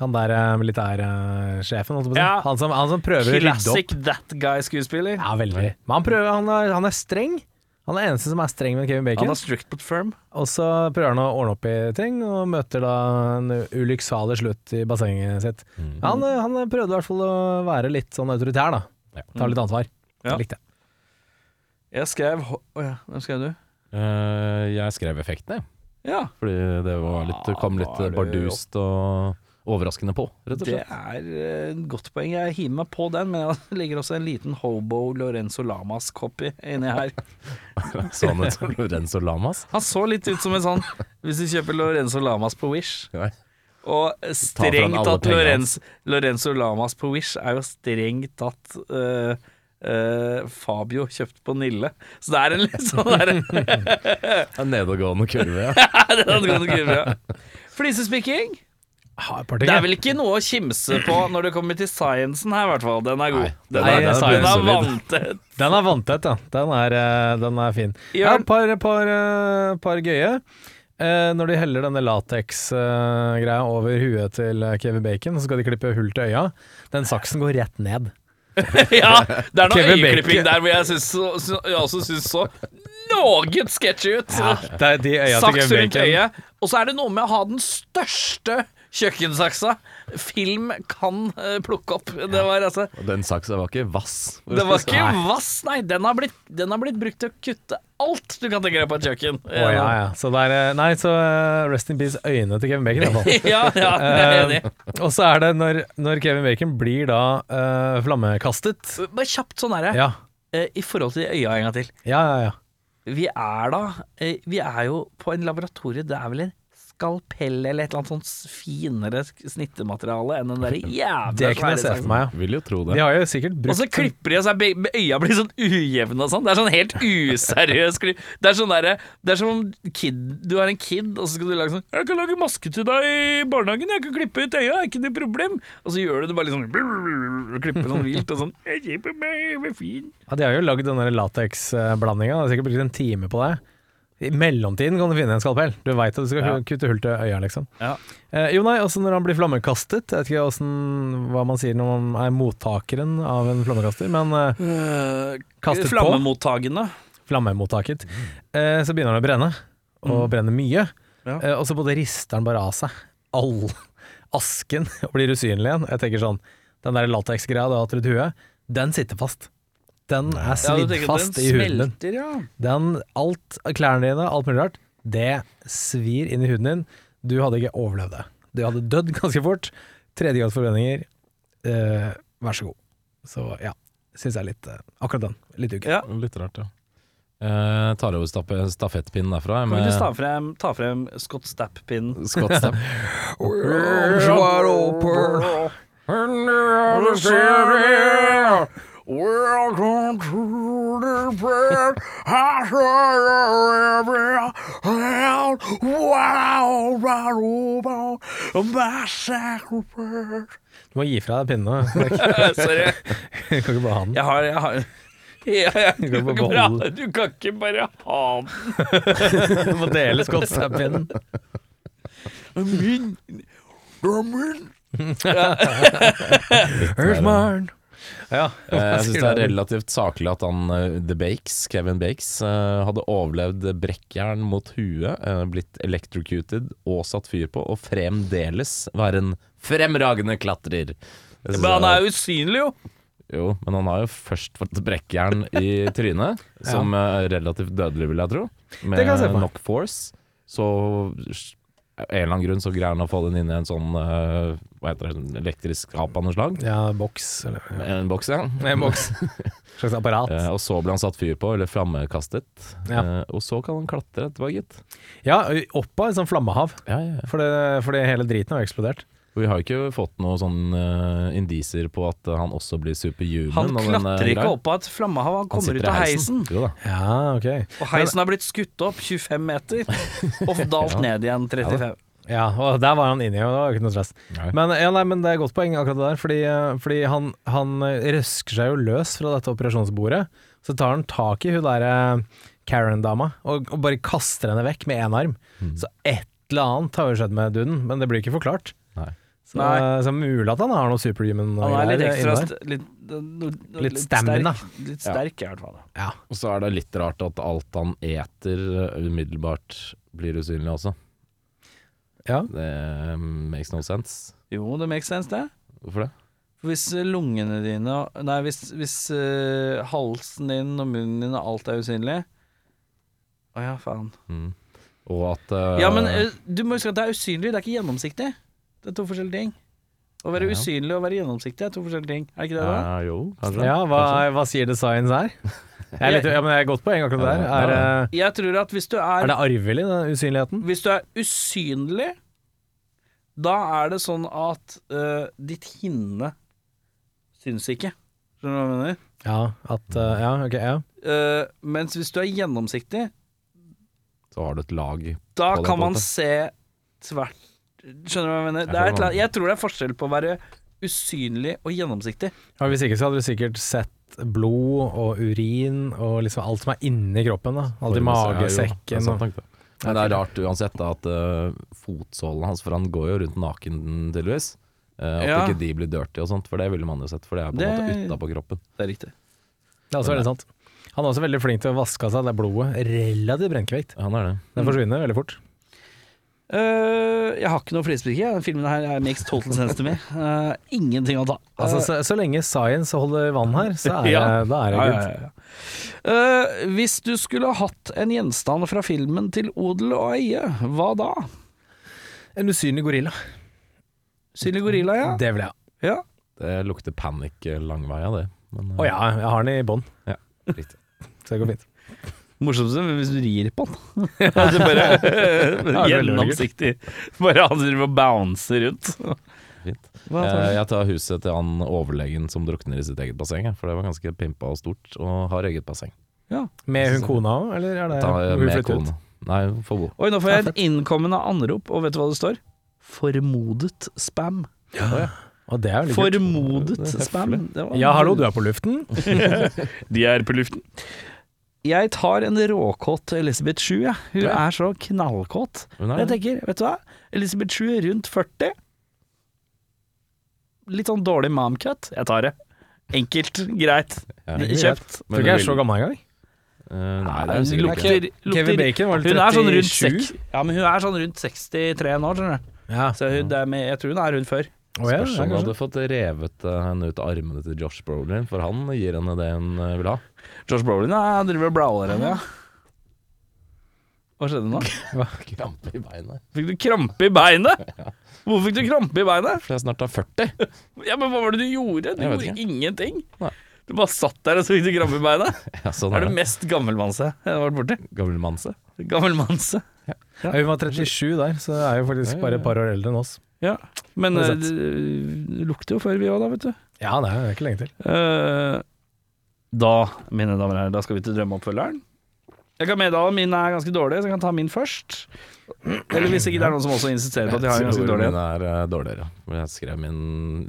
S3: Han der eh, militærsjefen, holdt jeg på å si.
S1: Ja.
S3: Han, som- han som prøver å rydde opp.
S1: Classic that guy-skuespiller.
S3: Ja, veldig. Men han prøver, han er, han er streng. Han er eneste som er streng med Kevin
S1: Han
S3: Bacon.
S1: er strict but firm.
S3: Og så prøver han å ordne opp i ting, og møter da en ulykksalig slutt i bassenget sitt.
S1: Mm.
S3: Han, eh, han prøvde i hvert fall å være litt sånn autoritær, da. Ta litt ansvar.
S1: Ja.
S3: Det Likte jeg.
S1: Jeg skrev Å ja, hvem skrev du?
S4: Eh, Jeg skrev effektene, jeg.
S1: Ja,
S4: Fordi det
S1: Ah,
S4: var litt, det kom litt
S1: var det
S4: bardust og overraskende på, rett
S1: det
S4: og slett.
S1: er eh, et godt poeng. Jeg hiver meg på den, men jeg legger også en liten Hobo Lorenzo Lamas-copy inni her.
S4: Så han ut Sånn som Lorenzo Lamas?
S1: Han så litt ut som en sånn Hvis du kjøper Lorenzo Lamas på Wish
S4: Nei.
S1: Og strengt
S4: alle
S1: tatt
S4: pengene
S1: Lorenz, Lorenzo Lamas på Wish er jo strengt tatt øh, øh, Fabio kjøpt på Nille. Så det er en litt sånn der
S4: En nedadgående kurve, ja.
S1: det hadde gått gøy, ja. Flisespikking.
S3: Ha, et par ting,
S1: Det er
S3: jeg.
S1: vel ikke noe å kimse på når det kommer til sciencen her, i hvert fall. Den er god.
S4: Nei,
S1: den,
S3: den
S1: er,
S3: er-
S1: den er
S4: den er
S1: vanntett.
S3: Den er vanntett, ja. Den er, eh, den er fin. Ja,
S1: Jørn?
S3: et par, par, eh, par gøye. Eh, når de heller denne lateks-greia over huet til eh, Kevin Bacon, så skal de klippe hull til øya. Den saksen går rett ned.
S1: Ja, det er noe
S3: Kevin Bacon.
S1: øyeklipping der hvor jeg, synes, så- så, jeg også syns så noe sketchy ut.
S3: Det er de øya til
S1: saks
S3: Kevin
S1: rundt
S3: Bacon.
S1: øyet. Og så er det noe med å ha den største kjøkkensaksa film kan eh, plukke opp. Det var altså
S4: Og Den saksa var ikke vass.
S1: Det var ikke vass, nei. Den har blitt, den har blitt brukt til å kutte alt du kan tenke deg på et kjøkken.
S3: Å, ja, ja. Så det er, eh, nei, så eh, rest in peace øynene til Kevin Bacon, i hvert fall.
S1: ja, ja, jeg er enig.
S3: Eh, og så er det når, når Kevin Bacon blir da eh, flammekastet.
S1: Bare kjapt sånn herre,
S3: Um, Ja,
S1: eh, i forhold til de øya en gang til.
S3: ja, ja. ja.
S1: Vi er da eh, Vi er jo på en laboratorie, det er vel en skalpell eller et eller annet sånt finere snittemateriale enn den der jævla
S3: Det kunne jeg
S1: svære
S3: se
S1: saksen.
S3: for meg, ja.
S4: Vil jo tro
S3: De
S4: det.
S3: har jo sikkert
S1: Og så
S3: brukt
S1: klipper de, og så er be- be- øya blir sånn ujevne og sånn. Det er sånn helt useriøs klipp. Det er sånn derre Det er som om kid, du har en kid, og så skal du lage sånn 'Jeg kan lage maske til deg i barnehagen, jeg kan klippe ut øya, er ikke noe problem.' Og så gjør du det bare litt sånn brr, brr, brr, Klipper sånn vilt og sånn 'Jeg klipper meg, jeg er fin'.
S3: Ja, de har jo lagd den lateksblandinga. De har sikkert brukt en time på det. I mellomtiden kan du finne en skalpell. Du veit at du skal kutte hull til øya, liksom.
S1: Ja.
S3: Eh, jo, nei, også når han blir flammekastet. Jeg vet ikke hvordan, hva man sier når man er mottakeren av en flammekaster, men eh,
S1: eh,
S3: Kastet på.
S1: Flammemottagende.
S3: flammemottaket. Eh, så begynner han å brenne, og brenner mye.
S1: Mm. Ja.
S3: Eh, og så både rister han bare av seg all asken og blir usynlig igjen. Jeg tenker sånn, den der lateksgreia du har hatt rundt huet, den sitter fast. Den er
S1: Ja, du
S3: svidd
S1: tenker at
S3: fast
S1: den
S3: i huden din.
S1: smelter, ja.
S3: Den, alt av klærne dine, alt mulig rart, det svir inn i huden din. Du hadde ikke overlevd det. Du hadde dødd ganske fort. Tredje gangs forbrenninger. Eh, vær så god. Så ja, syns jeg er litt eh, Akkurat den. Litt uken.
S1: Ja.
S4: Litt rart, ja. Eh, tar over stape- stafettpinnen derfra jeg,
S1: Kan vi ikke ta
S4: med
S1: frem, ta frem Scott Stapp-pinnen?
S4: Scott Stapp.
S2: Welcome to the pit. I saw you everywhere.
S3: Wow, wow, wow, massacre. Du må gi fra deg pinnen.
S1: Sorry.
S3: Du kan ikke bare ha den.
S1: Jeg har, jeg har jeg, jeg, du, kan ikke
S3: beholde
S1: bare, du kan ikke bare ha den.
S3: Du må dele skottstappinnen.
S1: Min Drummen
S3: Ja,
S4: Eh, Jeg
S3: Hva sier
S4: syns det er
S3: du?
S4: relativt saklig at han eh, The Bakes, Kevin Bakes, eh, hadde overlevd brekkjern mot huet, eh, blitt electrocuted og satt fyr på, og fremdeles var en fremragende klatrer. Jeg synes
S1: Men han
S4: det
S1: er usynlig jo
S4: jo, men han har jo først fått brekkjern i trynet, som eh, er relativt dødelig, vil jeg tro.
S3: Det kan jeg se
S4: Med
S3: for meg.
S4: nok force. Så s- av en eller annen grunn så greier han å få den inn i en sånn eh, Hva heter det, elektrisk ap av noe slag.
S3: Ja, boks. Eller
S4: En boks, ja.
S3: Nei, boks. Slags apparat.
S4: Eh, og så ble han satt fyr på, eller flammekastet.
S3: Ja.
S4: Eh, og så kan han klatre etterpå, gitt.
S3: Ja, opp av et sånt flammehav.
S4: Ja, ja, ja.
S3: Fordi, fordi hele driten har jo eksplodert.
S4: Vi har jo ikke fått noen sånne eh, indiser på at eh, han også blir superhuman.
S1: Han
S4: og den, eh,
S1: klatrer ikke
S4: greia.
S1: opp av et flammehav Han kommer
S4: sitter
S1: ut
S4: i
S1: av heisen
S4: Jo da.
S3: Ja, ok.
S1: Og heisen har blitt skutt opp 25 meter Og dalt ned igjen 35
S3: Ja, og der var han inni, og det var jo ikke noe stress.
S4: Nei.
S3: Men, ja, nei, men det er et godt poeng akkurat det der, fordi, eh, fordi han, han eh, røsker seg jo løs fra dette operasjonsbordet. Så tar han tak i hun der eh, Karen-dama og, og bare kaster henne vekk med én arm.
S4: Mm.
S3: Så et eller annet har jo skjedd med duden, men det blir ikke forklart.
S4: Nei.
S3: Så,
S1: Nei.
S3: eh, så mulig at han har noe superhuman
S1: Han er litt
S3: greier
S1: ekstra
S3: inni der.
S1: st- litt, litt,
S3: Litt stamina.
S1: sterk, Litt sterk i hvert fall
S3: Ja.
S4: Og så er det litt rart at alt han eter, eh, umiddelbart blir usynlig også.
S3: ja.
S4: Det eh, makes no sense.
S1: Jo, det makes sense det
S4: Hvorfor det?
S1: Hvis eh, lungene dine Nei, hvis, hvis eh, halsen din og munnen din og alt er usynlig Åja, faen
S4: Mm. Og at eh,
S1: Ja, men eh, du må huske at det er usynlig, det er ikke gjennomsiktig. Det er to forskjellige ting. Å være
S4: Ja.
S1: usynlig og være gjennomsiktig er to forskjellige ting. Er ikke det det?
S4: eh, Jo, kanskje.
S3: ja hva, hva sier designs her? Jeg er litt, ja, men det er et godt poeng akkurat det der.
S4: Ja,
S3: Er,
S4: ja.
S3: eh,
S1: Jeg tror at hvis du
S3: er
S1: er,
S3: det arvelig, den usynligheten?
S1: hvis du er usynlig, da er det sånn at eh, ditt hinne syns ikke. Skjønner du hva jeg mener?
S3: Ja, at, eh, ja, ok, ja.
S1: Eh, mens hvis du er gjennomsiktig,
S4: Så har du et lag.
S1: da
S4: På den
S1: kan man
S4: måten.
S1: se tvert Skjønner du hva jeg mener? Det er
S4: skjønner
S1: et, eller
S4: hva
S1: annet- jeg tror det er forskjell på å være usynlig og gjennomsiktig.
S3: Ja, hvis ikke så hadde du sikkert sett blod og urin og liksom alt som er inni kroppen. da Alt i
S4: Ja, jo, det er
S3: magesekken. Og,
S4: sant nok det. Men det er rart uansett da, at uh, fotsålene hans, for han går jo rundt naken tydeligvis, eh, at
S1: Ja.
S4: ikke de blir dirty og sånt, for det ville man jo sett, for det er på en
S1: Det-
S4: måte utapå kroppen.
S1: Det er riktig.
S3: det er også veldig sant. Han er også veldig flink til å vaske av seg det blodet. Relativt brennkvekt.
S4: Han er det.
S3: Det forsvinner veldig fort.
S1: Eh, jeg har ikke noe flisprikke. Den filmen her er makes total sense to me. Eh, ingenting å ta.
S3: Altså, så, så lenge science holder vann her, så er
S1: Eh.
S3: det,
S1: Ja.
S3: da er det
S1: Ja, ja,
S3: good.
S1: ja, ja. Eh, hvis du skulle hatt en gjenstand fra filmen til odel og eie, hva da?
S3: En usynlig gorilla.
S1: Synlig gorilla, ja.
S3: Det vil jeg ha.
S1: ja.
S4: Det lukter panikk langvei av det. Men, eh,
S3: Å ja, jeg har den i bånn,
S4: ja, riktig.
S3: så det går fint.
S1: Morsomst er hvis du rir på den. altså bare gjennomsiktig. Bare han driver og bouncer rundt.
S4: Fint.
S1: Hva
S4: Eh,
S1: tar du?
S4: jeg tar huset til han overlegen som drukner i sitt eget basseng, jeg, for det var ganske pimpa og stort, og har eget basseng.
S3: Med hun kona òg, eller er det
S4: Ta, eh,
S3: hun
S4: med
S3: flytter ut?
S4: kona. Nei, hun får bo.
S1: Oi, nå får jeg et innkommende anrop, og vet du hva det står? Formodet spam.
S3: Og det er jo litt kult.
S1: Formodet spam. Det var-
S3: Ja, hallo, du er på luften?
S1: De er på luften. Jeg tar en råkåt Elisabeth Schue, jeg. Hun
S4: Ja.
S1: er så knallkåt.
S4: Hun er
S1: Jeg
S4: det.
S1: tenker, vet du hva? Elisabeth Schue rundt 40. Litt sånn dårlig momcut. Jeg tar det. Enkelt, greit,
S4: Ja.
S1: kjøpt.
S3: Tror ikke jeg er så gammel engang.
S4: Eh, nei, det er jo
S1: hun
S4: sikkert ikke.
S1: lukter,
S3: Kevin
S1: lukter
S3: Bacon var
S1: Hun er sånn rundt
S3: seks.
S1: 6 Ja, men hun er sånn rundt 63 nå, skjønner du.
S3: Ja.
S1: Så hun, det er med, jeg tror hun er rundt før.
S3: Å ja,
S4: Spørs
S3: ja,
S4: om hun
S3: kanskje.
S4: hadde fått revet eh, henne ut av armene til Josh Brolin, for han gir henne det hun eh, vil ha.
S1: Josh Brolin ja, driver og blaler henne, ja. Hva skjedde nå?
S4: Krampe i beinet.
S1: Fikk du krampe i beinet? Hvorfor fikk du krampe i beinet?
S4: For jeg snart er 40.
S1: Ja, men Hva var det du gjorde? Du
S4: Jeg vet
S1: gjorde
S4: ikke.
S1: ingenting.
S4: Nei.
S1: Du bare satt der og så fikk du krampe i beinet.
S4: Ja, sånn
S1: Det
S4: er
S1: er det
S4: det.
S1: mest gammelmannse jeg har vært borti.
S4: Gammel manse.
S1: Gammelmannse.
S3: Ja, Hun var 37 der, så er jo faktisk bare et par år eldre enn oss.
S1: Ja. Men eh,
S3: Det
S1: det
S3: er sant.
S1: lukter jo før vi òg, da, vet du.
S3: Ja, det er ikke lenge til.
S1: Eh, da, mine damer og herrer, da skal vi til drømmeoppfølgeren. Jeg kan meddele at mine er ganske dårlige, så jeg kan ta min først. Eller hvis ikke det er noen som også insisterer på at de har en ganske dårlig en.
S4: Min er eh, dårligere. For Jeg skrev min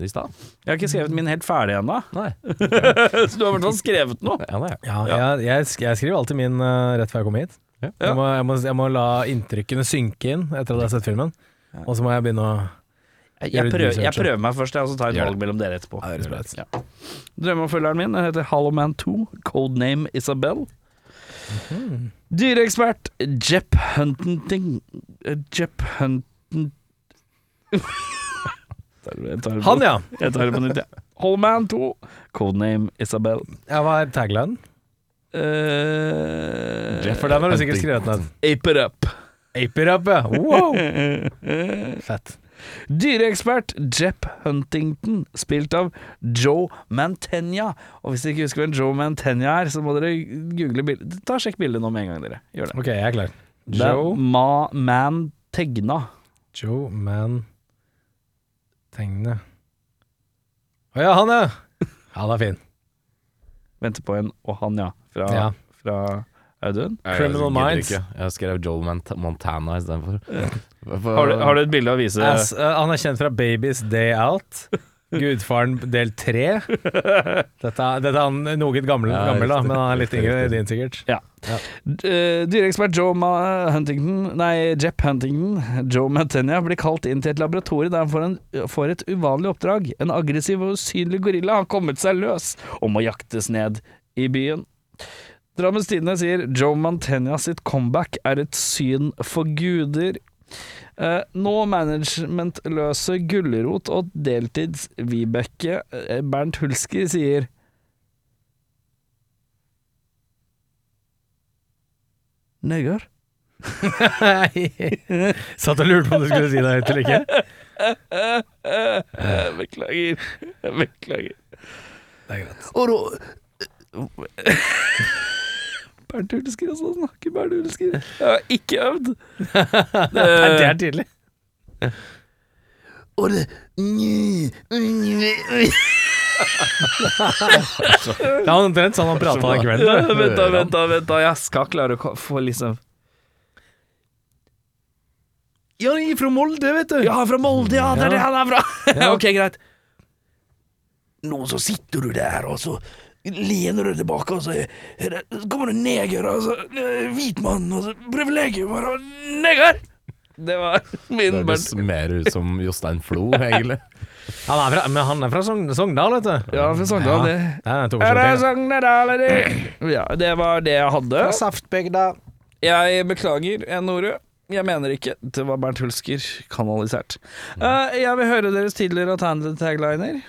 S4: i stad.
S1: Jeg har ikke skrevet min helt ferdig ennå,
S4: Nei.
S1: så du har i hvert fall skrevet noe.
S4: Ja, det er jeg.
S3: Ja, Jeg, jeg, sk- jeg skriver alltid min eh, rett før jeg kommer hit.
S4: Ja.
S3: Jeg, må, jeg, må, jeg må la inntrykkene synke inn etter at jeg har sett filmen, og så må jeg begynne å
S1: Jeg prøver, jeg prøver meg først, jeg, og så tar jeg et
S4: Gjør
S1: valg mellom dere etterpå.
S3: Ja, det høres bra ut.
S1: Ja. Drømmeoppfølgeren min den heter Hollow Man 2, codename Isabel. Dyreekspert Jepp Hunting eh, Jepp Hunting
S3: Han, ja!
S1: Jeg tar det på nytt, jeg. Ja. Hollow Man 2, codename Isabel.
S3: Jeg var taglinen.
S1: Eh,
S3: For den har du sikkert skrevet ned.
S1: Ape it up.
S3: Ape it up, ja! Wow! Fett.
S1: Dyreekspert Jepp Huntington, spilt av Joe Mantegna. Og hvis dere ikke husker hvem Joe Mantegna er, så må dere google bildet. Ta Sjekk bildet nå med en gang, dere. Gjør det.
S3: Ok, jeg er klar.
S1: Det er
S3: Joe,
S1: Ma Mantegna.
S3: Joe Man Tegne Å ja, han, ja! Han er fin.
S1: Venter på en og han, ja. Fra,
S3: Ja.
S1: fra Audun.
S4: Nei, jeg
S3: Criminal
S4: gidder
S3: Minds.
S4: ikke. Jeg skrev Joel Mant Montana istedenfor.
S1: Har du, har du et bilde å vise?
S3: Ass, eh, han er kjent fra Babies Day Out. Gudfaren del tre. Dette er, dette er han noe gammel,
S4: Ja,
S3: gammel da,
S4: riktig.
S3: men han er litt
S4: Riktig,
S3: yngre i
S4: riktig.
S3: din, sikkert.
S1: Ja. D- eh, Dyreekspert Joe Ma Huntington, nei, Jepp Huntington, Joe Mantegna, blir kalt inn til et laboratorium der han får, en, får et uvanlig oppdrag. En aggressiv og usynlig gorilla har kommet seg løs og må jaktes ned i byen. Drammens Tidende sier Joe Mantegna sitt comeback er et syn for guder. Eh, nå managementløse Gulrot og deltids-Vibeke eh, Bernt Hulsker sier Neger.
S3: Satt og lurte på om du skulle si det høyt eller ikke.
S1: Eh, Beklager. Beklager.
S3: Det er greit.
S1: Og da Bernt Hulsker, altså. Snakker Bernt Hulsker. Jeg har ikke øvd.
S3: Nei, det er tydelig.
S1: Og det
S3: Det er omtrent sånn han prata den kvelden. da.
S1: Vent, da, vent, da. vent da Jeg skal klare å ko- få liksom
S3: Ja, han er fra Molde, vet du.
S1: Ja, han er fra Molde, ja! Det er det han er fra! ok, greit.
S5: Nå så sitter du der, og så lener du tilbake, og så, er det- så kommer det neger, og så eh, hvit mann, og så privilegium, og neger!
S1: Det var min
S4: Det høres
S1: Bernt.
S4: mer ut som Jostein Flo, egentlig.
S3: Han er fra, men han er fra Sogn- Sogndal, vet du.
S1: Ja, fra Sogndal, det.
S3: Det er to
S1: Er det altså-
S3: forskjellige ting.
S1: Sogndal, eller? Ja, det var det jeg hadde.
S3: Saftbygda.
S1: Jeg beklager, N-ordet. Jeg mener ikke. Det var Bernt Hulsker kanalisert. Eh, jeg vil høre deres tidligere alternative tagliner.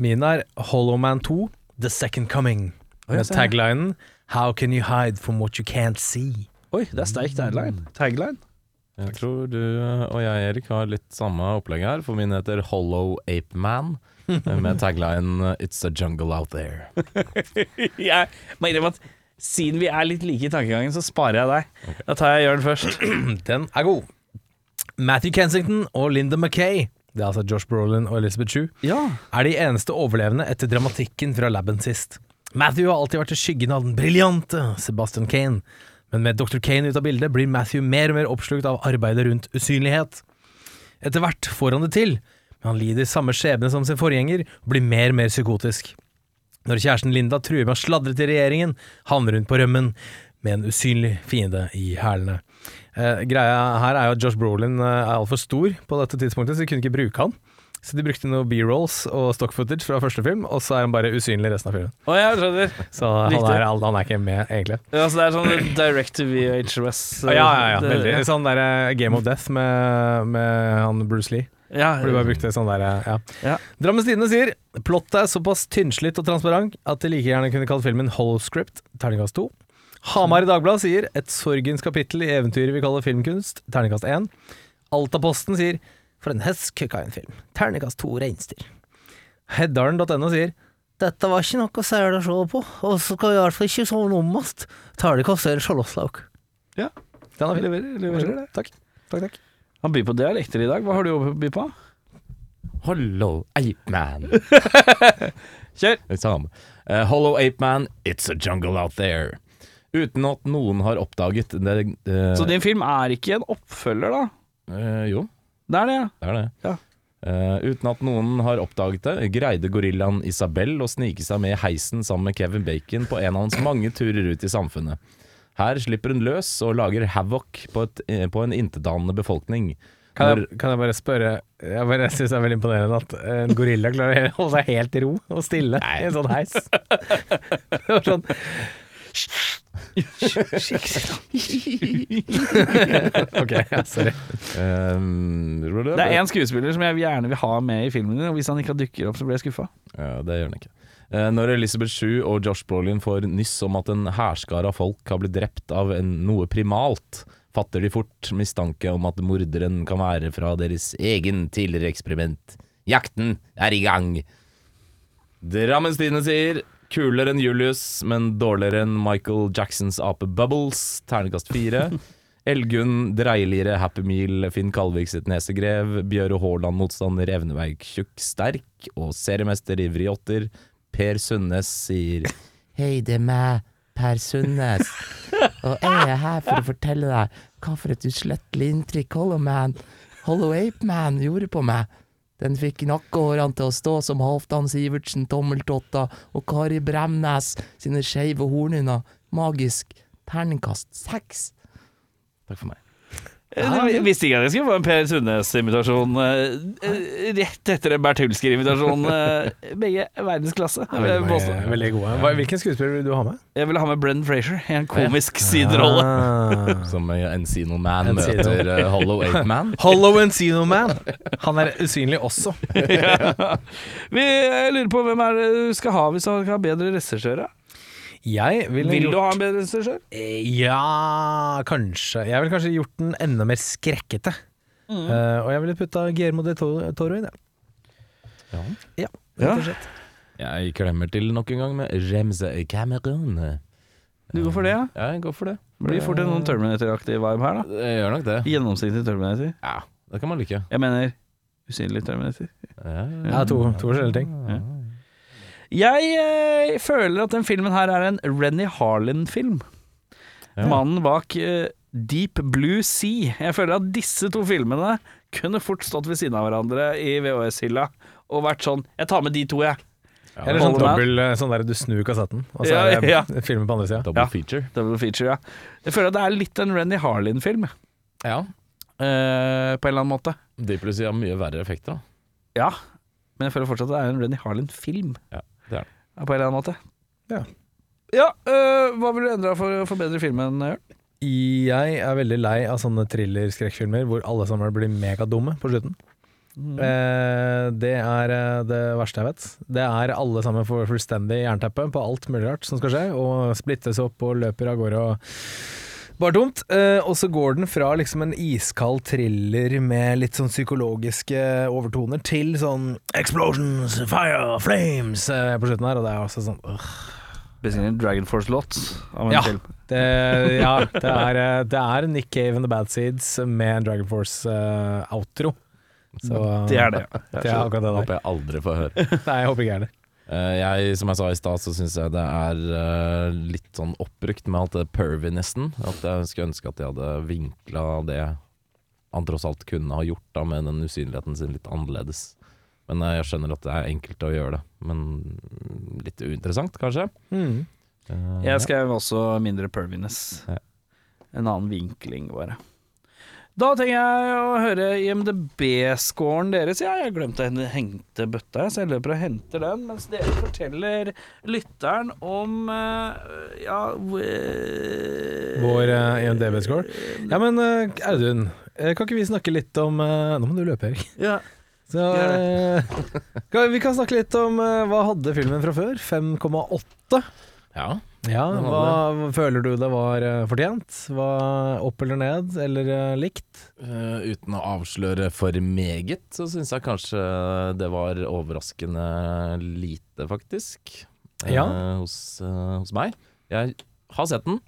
S3: Min er Hollowman 2, The Second Coming. Med
S1: se her.
S3: taglinen How can you hide from what you can't see?
S1: Oi, det er sterk tagline. tagline.
S4: Jeg tror du eh, og jeg, Erik, har litt samme opplegg her, for min heter Hollow Ape Man. eh, Med tagline eh, 'It's a jungle out there'.
S1: Jeg må innrømme at siden vi er litt like i tankegangen, så sparer jeg deg. Da tar jeg Jørn først.
S3: Den er god. Matthew Kensington og Linda Mackay, det er altså Josh Brolin og Elizabeth Shue,
S1: Ja.
S3: er de eneste overlevende etter dramatikken fra laben sist. Matthew har alltid vært i skyggen av den briljante Sebastian Kane, men med Dr. Kane ut av bildet blir Matthew mer og mer oppslukt av arbeidet rundt usynlighet. Etter hvert får han det til, men han lider samme skjebne som sin forgjenger og blir mer og mer psykotisk. Når kjæresten Linda truer med å sladre til regjeringen, havner hun på rømmen med en usynlig fiende i hælene. Eh, greia her er jo at Josh Brolin eh, er altfor stor på dette tidspunktet, så de kunne ikke bruke han. Så de brukte noen B-rolls og stock footage fra første film, og så er han bare usynlig resten av filmen.
S1: Å, jeg skjønner.
S3: Så han
S1: Riktig.
S3: er, han er ikke med, egentlig.
S1: Ja, så det er sånn direct to VHS. eh,
S3: Ja, ja, ja,
S1: det-
S3: veldig. Sånn der eh, Game of Death med, med han Bruce Lee.
S1: Ja,
S3: For du bare brukte sånn der, ja.
S1: Ja.
S3: Drammens Tidende sier Plottet er såpass tynnslitt og transparent at de like gjerne kunne kalt filmen Holoscript, terningkast 2. Hamar i Dagbladet sier et sorgens kapittel i eventyret vi kaller filmkunst, terningkast 1. Altaposten sier for en hesk kukka en film, terningkast 2 reinsdyr. Heddalen.no sier dette var ikke noe særlig å se på, og så skal vi i hvert fall ikke sove om oss, terningkast 1 sjaloslauk.
S1: Ja.
S3: Den er fin.
S1: leverer, leverer det.
S3: Takk. Takk, takk.
S1: Han byr på dialekter i dag. Hva har du å by på?
S4: Hollow Ape Man.
S1: Kjør.
S4: Det er samme. Eh, Hollow Ape Man, It's a jungle out there. Uten at noen har oppdaget det. eh,
S1: Så din film er ikke en oppfølger, da?
S4: eh, jo,
S1: Det er det, ja.
S4: det er det.
S1: Ja.
S4: Eh, uten at noen har oppdaget det, greide gorillaen Isabel å snike seg med i heisen sammen med Kevin Bacon på en av hans mange turer ut i samfunnet. Her slipper hun løs og lager havoc på, et, eh, på en intetanende befolkning.
S3: Kan
S4: Når-
S3: jeg, kan jeg bare spørre Jeg bare synes det er veldig imponerende at en gorilla klarer å holde seg helt i ro og stille i en sånn heis. Det var sånn Ok, ja, sorry.
S4: Eh,
S1: Det er én skuespiller som jeg gjerne vil ha med i filmen din, og hvis han ikke dukker opp, så blir jeg skuffa.
S4: Ja, det gjør den ikke. Eh, Når Elizabeth Shue og Josh Brolin får nyss om at en hærskare av folk har blitt drept av en, noe primalt, fatter de fort mistanke om at morderen kan være fra deres egen tidligere eksperiment. Jakten er i gang! Drammens Tidende sier kulere enn Julius, men dårligere enn Michael Jacksons ape Bubbles, ternekast fire. Elgunn, dreiligere Happy Meal, Finn Kalvik sitt nesegrev, Bjøre Haaland motstander, Evneberg tjukk sterk, og seriemester i vriotter, Per Sundnes sier
S6: Hei, det er meg, Per Sundnes. Og jeg er her for å fortelle deg hva for et uslettelig inntrykk Hollow Man, Hollow Ape Man gjorde på meg. Den fikk nakkehårene til å stå som Halvdan Sivertsen, Tommeltotta og Kari Bremnes sine skeive hornhinner. Magisk. Terningkast seks.
S4: takk for meg.
S1: Jeg visste ikke at jeg skulle få en Per Sundnes-invitasjon eh, eh, rett etter en Bertulsker-invitasjon. eh, Begge verdensklasse. vil jeg påstå.
S3: Veldig, veldig gode. Hva- Hvilken skuespiller vil du ha med?
S1: Jeg ville ha med Brendan Frazier i en komisk siderolle.
S3: Ah.
S4: Som eh, Encino Man
S3: Encino.
S4: møter eh, Hollow Ape Man.
S3: Hollow Encino Man. Han er usynlig også.
S1: Vi eh, lurer på hvem er det du skal ha hvis du skal ha bedre regissør? da?
S3: Jeg ville
S1: Vil du
S3: gjort-
S1: ha en bedre regissør?
S3: Eh, Ja, kanskje. Jeg ville kanskje gjort den enda mer skrekkete. Eh, og jeg ville putta Guillermo de Toro Toro inn, jeg.
S1: Ja.
S4: Jeg klemmer til nok en gang med Remse Cameron.
S1: Du går for det, ja?
S4: Ja, jeg går for det.
S1: Blir fort
S3: Eh.
S1: en noen Terminator-aktig vibe her, da.
S4: Jeg gjør nok det.
S1: Gjennomsiktig Terminator.
S4: Ja, det kan man like.
S1: Jeg mener usynlig Terminator.
S4: Ja, ja.
S3: Ja, to, to forskjellige ting.
S1: Jeg eh, føler at den filmen her er en Renny Harlin-film.
S4: Ja.
S1: Mannen bak eh, Deep Blue Sea. Jeg føler at disse to filmene kunne fort stått ved siden av hverandre i VHS-hylla og vært sånn Jeg tar med de to, jeg.
S3: Eller sånn
S1: Hollow Man.
S3: dobbel eh, sånn der du snur kassetten, og så
S1: Ja,
S3: er det
S1: ja.
S3: filmen på andre sida.
S4: Double
S1: Ja.
S4: feature.
S1: Double feature, ja. Jeg føler at det er litt en Renny Harlin-film,
S4: Ja.
S1: eh, på en eller annen måte.
S4: De plutselig har mye verre effekter, da.
S1: Ja, men jeg føler fortsatt at det er en Renny Harlin-film.
S4: Ja, det er det.
S1: På en eller annen måte.
S3: Ja.
S1: Ja, eh, hva vil du endre for å forbedre filmen, Jørn?
S3: Jeg er veldig lei av sånne thriller-skrekkfilmer hvor alle sammen blir megadumme på slutten. Eh, det er eh, det verste jeg vet. Det er alle sammen får fullstendig jernteppe på alt mulig rart som skal skje, og splittes opp og løper av gårde og bare dumt. Eh, og så går den fra liksom en iskald thriller med litt sånn psykologiske overtoner til sånn explosions, fire, flames eh, på slutten her, og det er også sånn øh.
S1: Besinnen Dragon Force Lot av en
S3: Ja.
S1: film.
S3: Det, ja, det er, eh, det er Nick Cave and The Bad Seeds med en Dragon Force-outro.
S1: Det er det.
S3: Det er akkurat det der.
S4: Håper jeg aldri får høre.
S3: Nei, jeg håper ikke jeg er det.
S4: Eh, jeg, som jeg sa i stad, så syns jeg det er eh, litt sånn oppbrukt med alt det pervinessen. At jeg skulle ønske at de hadde vinkla det han tross alt kunne ha gjort, da, med den usynligheten sin litt annerledes. Men eh, jeg skjønner at det er enkelt å gjøre det. Men mm, litt uinteressant, kanskje.
S3: Mm.
S4: Eh,
S1: Jeg skrev også mindre perviness.
S4: Ja.
S1: En annen vinkling, bare. Da tenker jeg å høre IMDb-scoren deres. Ja, jeg glemte å hente bøtta, så jeg løper og henter den. Mens dere forteller lytteren om eh, Ja hvor-
S3: Vår uh, IMDb-score. Ja, men eh, Audun, eh, kan ikke vi snakke litt om eh, Nå må du løpe, Erik.
S1: ja.
S3: Så, eh, kan, vi kan snakke litt om eh, hva hadde filmen fra før? 5,8.
S4: ja.
S3: Ja,
S4: Den hadde
S3: hva, Føler du det var eh, fortjent? Hva, opp eller ned, eller eh, likt?
S4: Eh, uten å avsløre for meget, så syns jeg kanskje det var overraskende lite, faktisk. eh,
S3: Ja.
S4: hos, eh, hos meg. Jeg har sett den,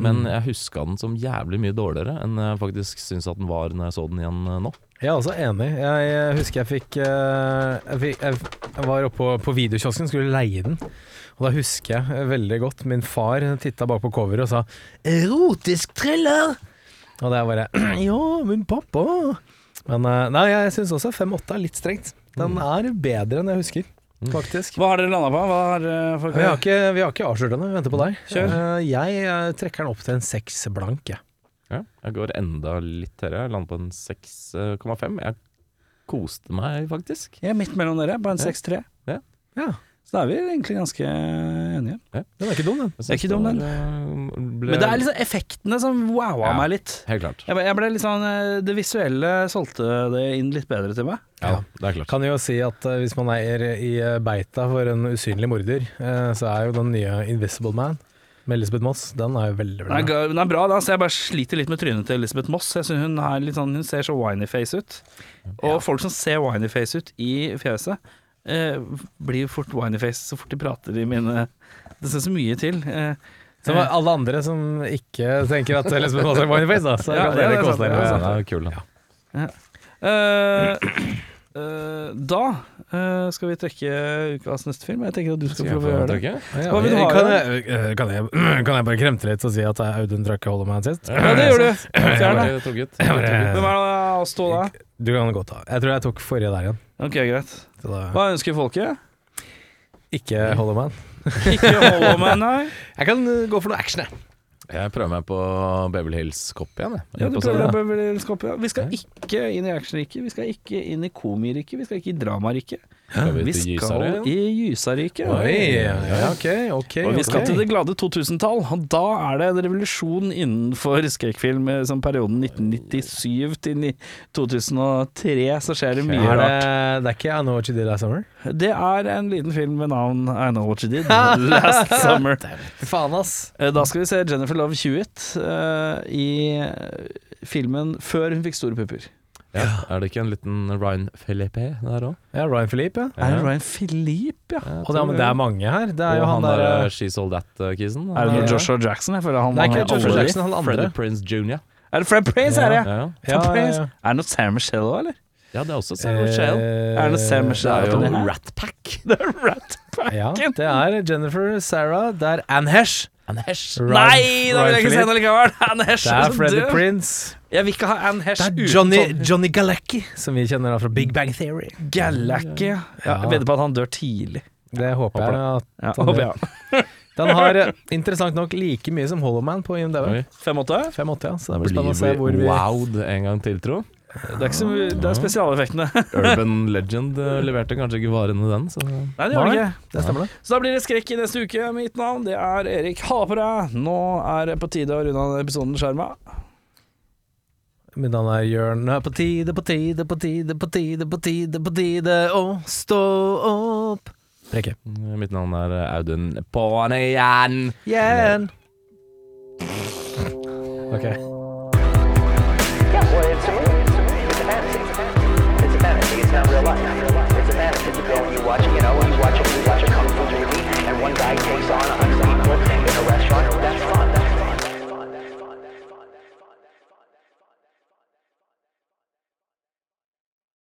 S4: Men
S1: Mm.
S4: jeg huska den som jævlig mye dårligere enn jeg faktisk syns at den var når jeg så den igjen eh, nå.
S3: Jeg er også enig. Jeg, eh, husker jeg fikk, eh, jeg, fikk jeg, jeg var oppe på- på videokiosken, skulle leie den. Og da husker jeg eh, veldig godt min far titta bak på coveret og sa 'erotisk thriller'. Og det er bare Ja, men pappa Men eh, nei, jeg syns også 5-8 er litt strengt. Den er bedre enn jeg husker, faktisk.
S1: Hva har dere landa på? Hva har, eh, folk-
S3: Vi har ikke, vi har ikke avslørt henne, vi venter på deg.
S1: Kjør.
S3: Eh, Jeg eh, trekker den opp til en seks blank, jeg.
S4: Ja, jeg går enda litt høyere. Jeg lander på en 6,5. Jeg koste meg faktisk.
S1: Jeg er midt mellom dere, på en 6-3.
S4: Ja.
S3: Ja.
S1: Så da er vi egentlig ganske enige.
S3: Den er ikke dum, den.
S4: Jeg
S1: Det er
S4: synes
S1: ikke dum,
S4: var,
S1: den.
S4: eh, ble-
S1: Men det er liksom effektene som wowa
S4: Ja.
S1: meg litt.
S4: Helt klart.
S1: Jeg ble, jeg ble litt sånn, eh, Det visuelle solgte det inn litt bedre til meg.
S4: Ja, det er klart.
S3: Kan jo si at eh, hvis man eier i eh, beita for en usynlig morder, eh, så er jo den nye Invisible Man med Elisabeth Moss, den er jo veldig
S1: Den er,
S3: veldig bra.
S1: ga- den er bra, da, så jeg bare sliter litt med trynet til Elisabeth Moss. Jeg synes hun, er litt sånn, hun ser så winy-face ut. Og folk som ser winy-face ut i fjeset, eh, blir fort winy-face så fort de prater i mine Det skal så mye til. Eh,
S3: Som alle andre som ikke tenker at Elisabeth Moss er Wineface, da. Så
S1: Ja, ja,
S3: kan
S1: det
S3: dere
S1: er
S3: kose
S1: sant,
S3: dere
S4: Ja,
S3: med
S4: den
S3: det.
S4: er kul, den.
S1: eh, eh, da eh, skal vi trekke ukas neste film. Jeg tenker at du skal få lov å gjøre det.
S4: Trekke?
S3: Ja,
S1: Hva vil du ha,
S3: kan, jeg, eh, kan, jeg, kan jeg bare kremte litt og si at Audun Drøkke holder meg sist?
S1: Ja, det gjør du.
S4: Jeg
S1: Fjern det.
S4: ble trukket.
S3: Jeg
S1: Hvem
S3: bare,
S1: er det av oss to da?
S3: du kan godt ta. Jeg tror jeg tok forrige der igjen.
S1: Ok, greit.
S3: Så da,
S1: Hva ønsker folket?
S3: ikke holder meg.
S1: Ikke holde meg, nei.
S3: Jeg kan eh, gå for noe action, jeg.
S4: Jeg prøver meg på Beverly Hills Cop igjen, jeg.
S1: Ja, du
S4: På sånn,
S1: prøver
S4: scenen,
S1: å
S4: da.
S1: bevege dere opp, ja. Vi skal ikke inn i actionriket, vi skal ikke inn i komieriket, vi skal ikke i dramariket.
S4: Skal vi
S1: Vi
S4: til
S1: skal
S4: Gysare?
S1: i gysariket.
S3: Oi, ja, ja, ok, ok.
S1: Og vi skal
S3: ok.
S1: til det glade 2000-tall, og da er det en revolusjon innenfor skrekkfilm. eh, Som perioden 1997 til ni- 2003 så skjer det mye
S3: er det,
S1: rart.
S3: det er ikke I Know What You Did Last Summer?
S1: Det er en liten film ved navn I Know What You Did Last Summer.
S3: Fy faen, ass.
S1: Eh, Da skal vi se Jennifer Love Hewitt eh, i filmen før hun fikk store pupper.
S4: Ja. Er det ikke en liten Ryan Felipe der òg?
S3: Ja, Ryan Philippe, ja.
S1: Er det Ryan Philippe, ja?
S3: Og det, er- men det er mange her. Det er
S4: Og
S3: jo
S4: han
S3: han, der
S4: der
S3: eh,
S4: She Sold That-kisen.
S1: Er det
S3: Ja.
S1: noe Joshua Jackson? Jeg føler han
S3: Nei, ikke
S1: han-
S3: Joshua
S1: alle de.
S3: Jackson, han andre.
S4: Freddy Prince Jr.
S1: Er det Fred Prince, er det?
S4: Ja, ja.
S1: Fred
S3: Ja, Eh, ja,
S1: Prince.
S3: ja.
S1: Er det noe Sam Michelle òg, eller?
S4: ja det er
S1: Eh,
S4: også Sarah
S1: Er det
S3: eh,
S1: Sam Michelle?
S4: Det er jo
S1: oppi det her?
S4: Rat Pack.
S1: Det er Rat Pack.
S3: Ja, det er Jennifer, Sarah, det er Anne Hesh. Anne Hesh.
S1: Nei, da vil jeg ikke se den likevel! Anne Hesh
S3: Det er
S1: er så
S3: Freddy
S1: død.
S3: Prince.
S1: Jeg vil ikke ha Anne Hesh
S3: Det er
S1: uten
S3: Johnny, Johnny Galecki, som vi kjenner da fra Big Bang Theory.
S1: Gallacky. Ja,
S3: Ja.
S1: jeg vedder på at han dør tidlig.
S3: Det håper jeg. at
S1: Ja,
S3: han
S1: håper
S3: dør.
S1: jeg.
S3: Den har eh, interessant nok like mye som Hollowman på IMDv.
S4: Oi.
S1: 5-8?
S3: 5,80, ja, så det blir
S4: Blir
S3: spennende å se hvor
S4: vi
S3: vi
S4: wowed en gang til, tro?
S1: Det er, ikke så, mye- det er spesialeffektene.
S4: Urban Legend eh, leverte kanskje ikke varene den, så
S1: Nei, det gjør det
S3: Nei.
S1: ikke.
S3: Det stemmer, det.
S1: Så da blir det skrekk i neste uke. Mitt navn det er Erik. Ha det på deg! Nå er det på tide å runde av denne episoden skjerma.
S3: Mitt navn er Jørn. Nå er på tide, på tide, på tide, på tide, på tide, på tide å stå opp. Rekke.
S4: eh, Mitt navn er eh, Audun Pånejan.
S3: Igjen. Ok.
S2: Yeah, well, it's a movie. It's a movie. It's a fantasy. It's a fantasy. It's not real life. It's a fantasy. It's a film you watch, you know, you watch it, you watch a kung fu movie, and one guy takes on a hundred.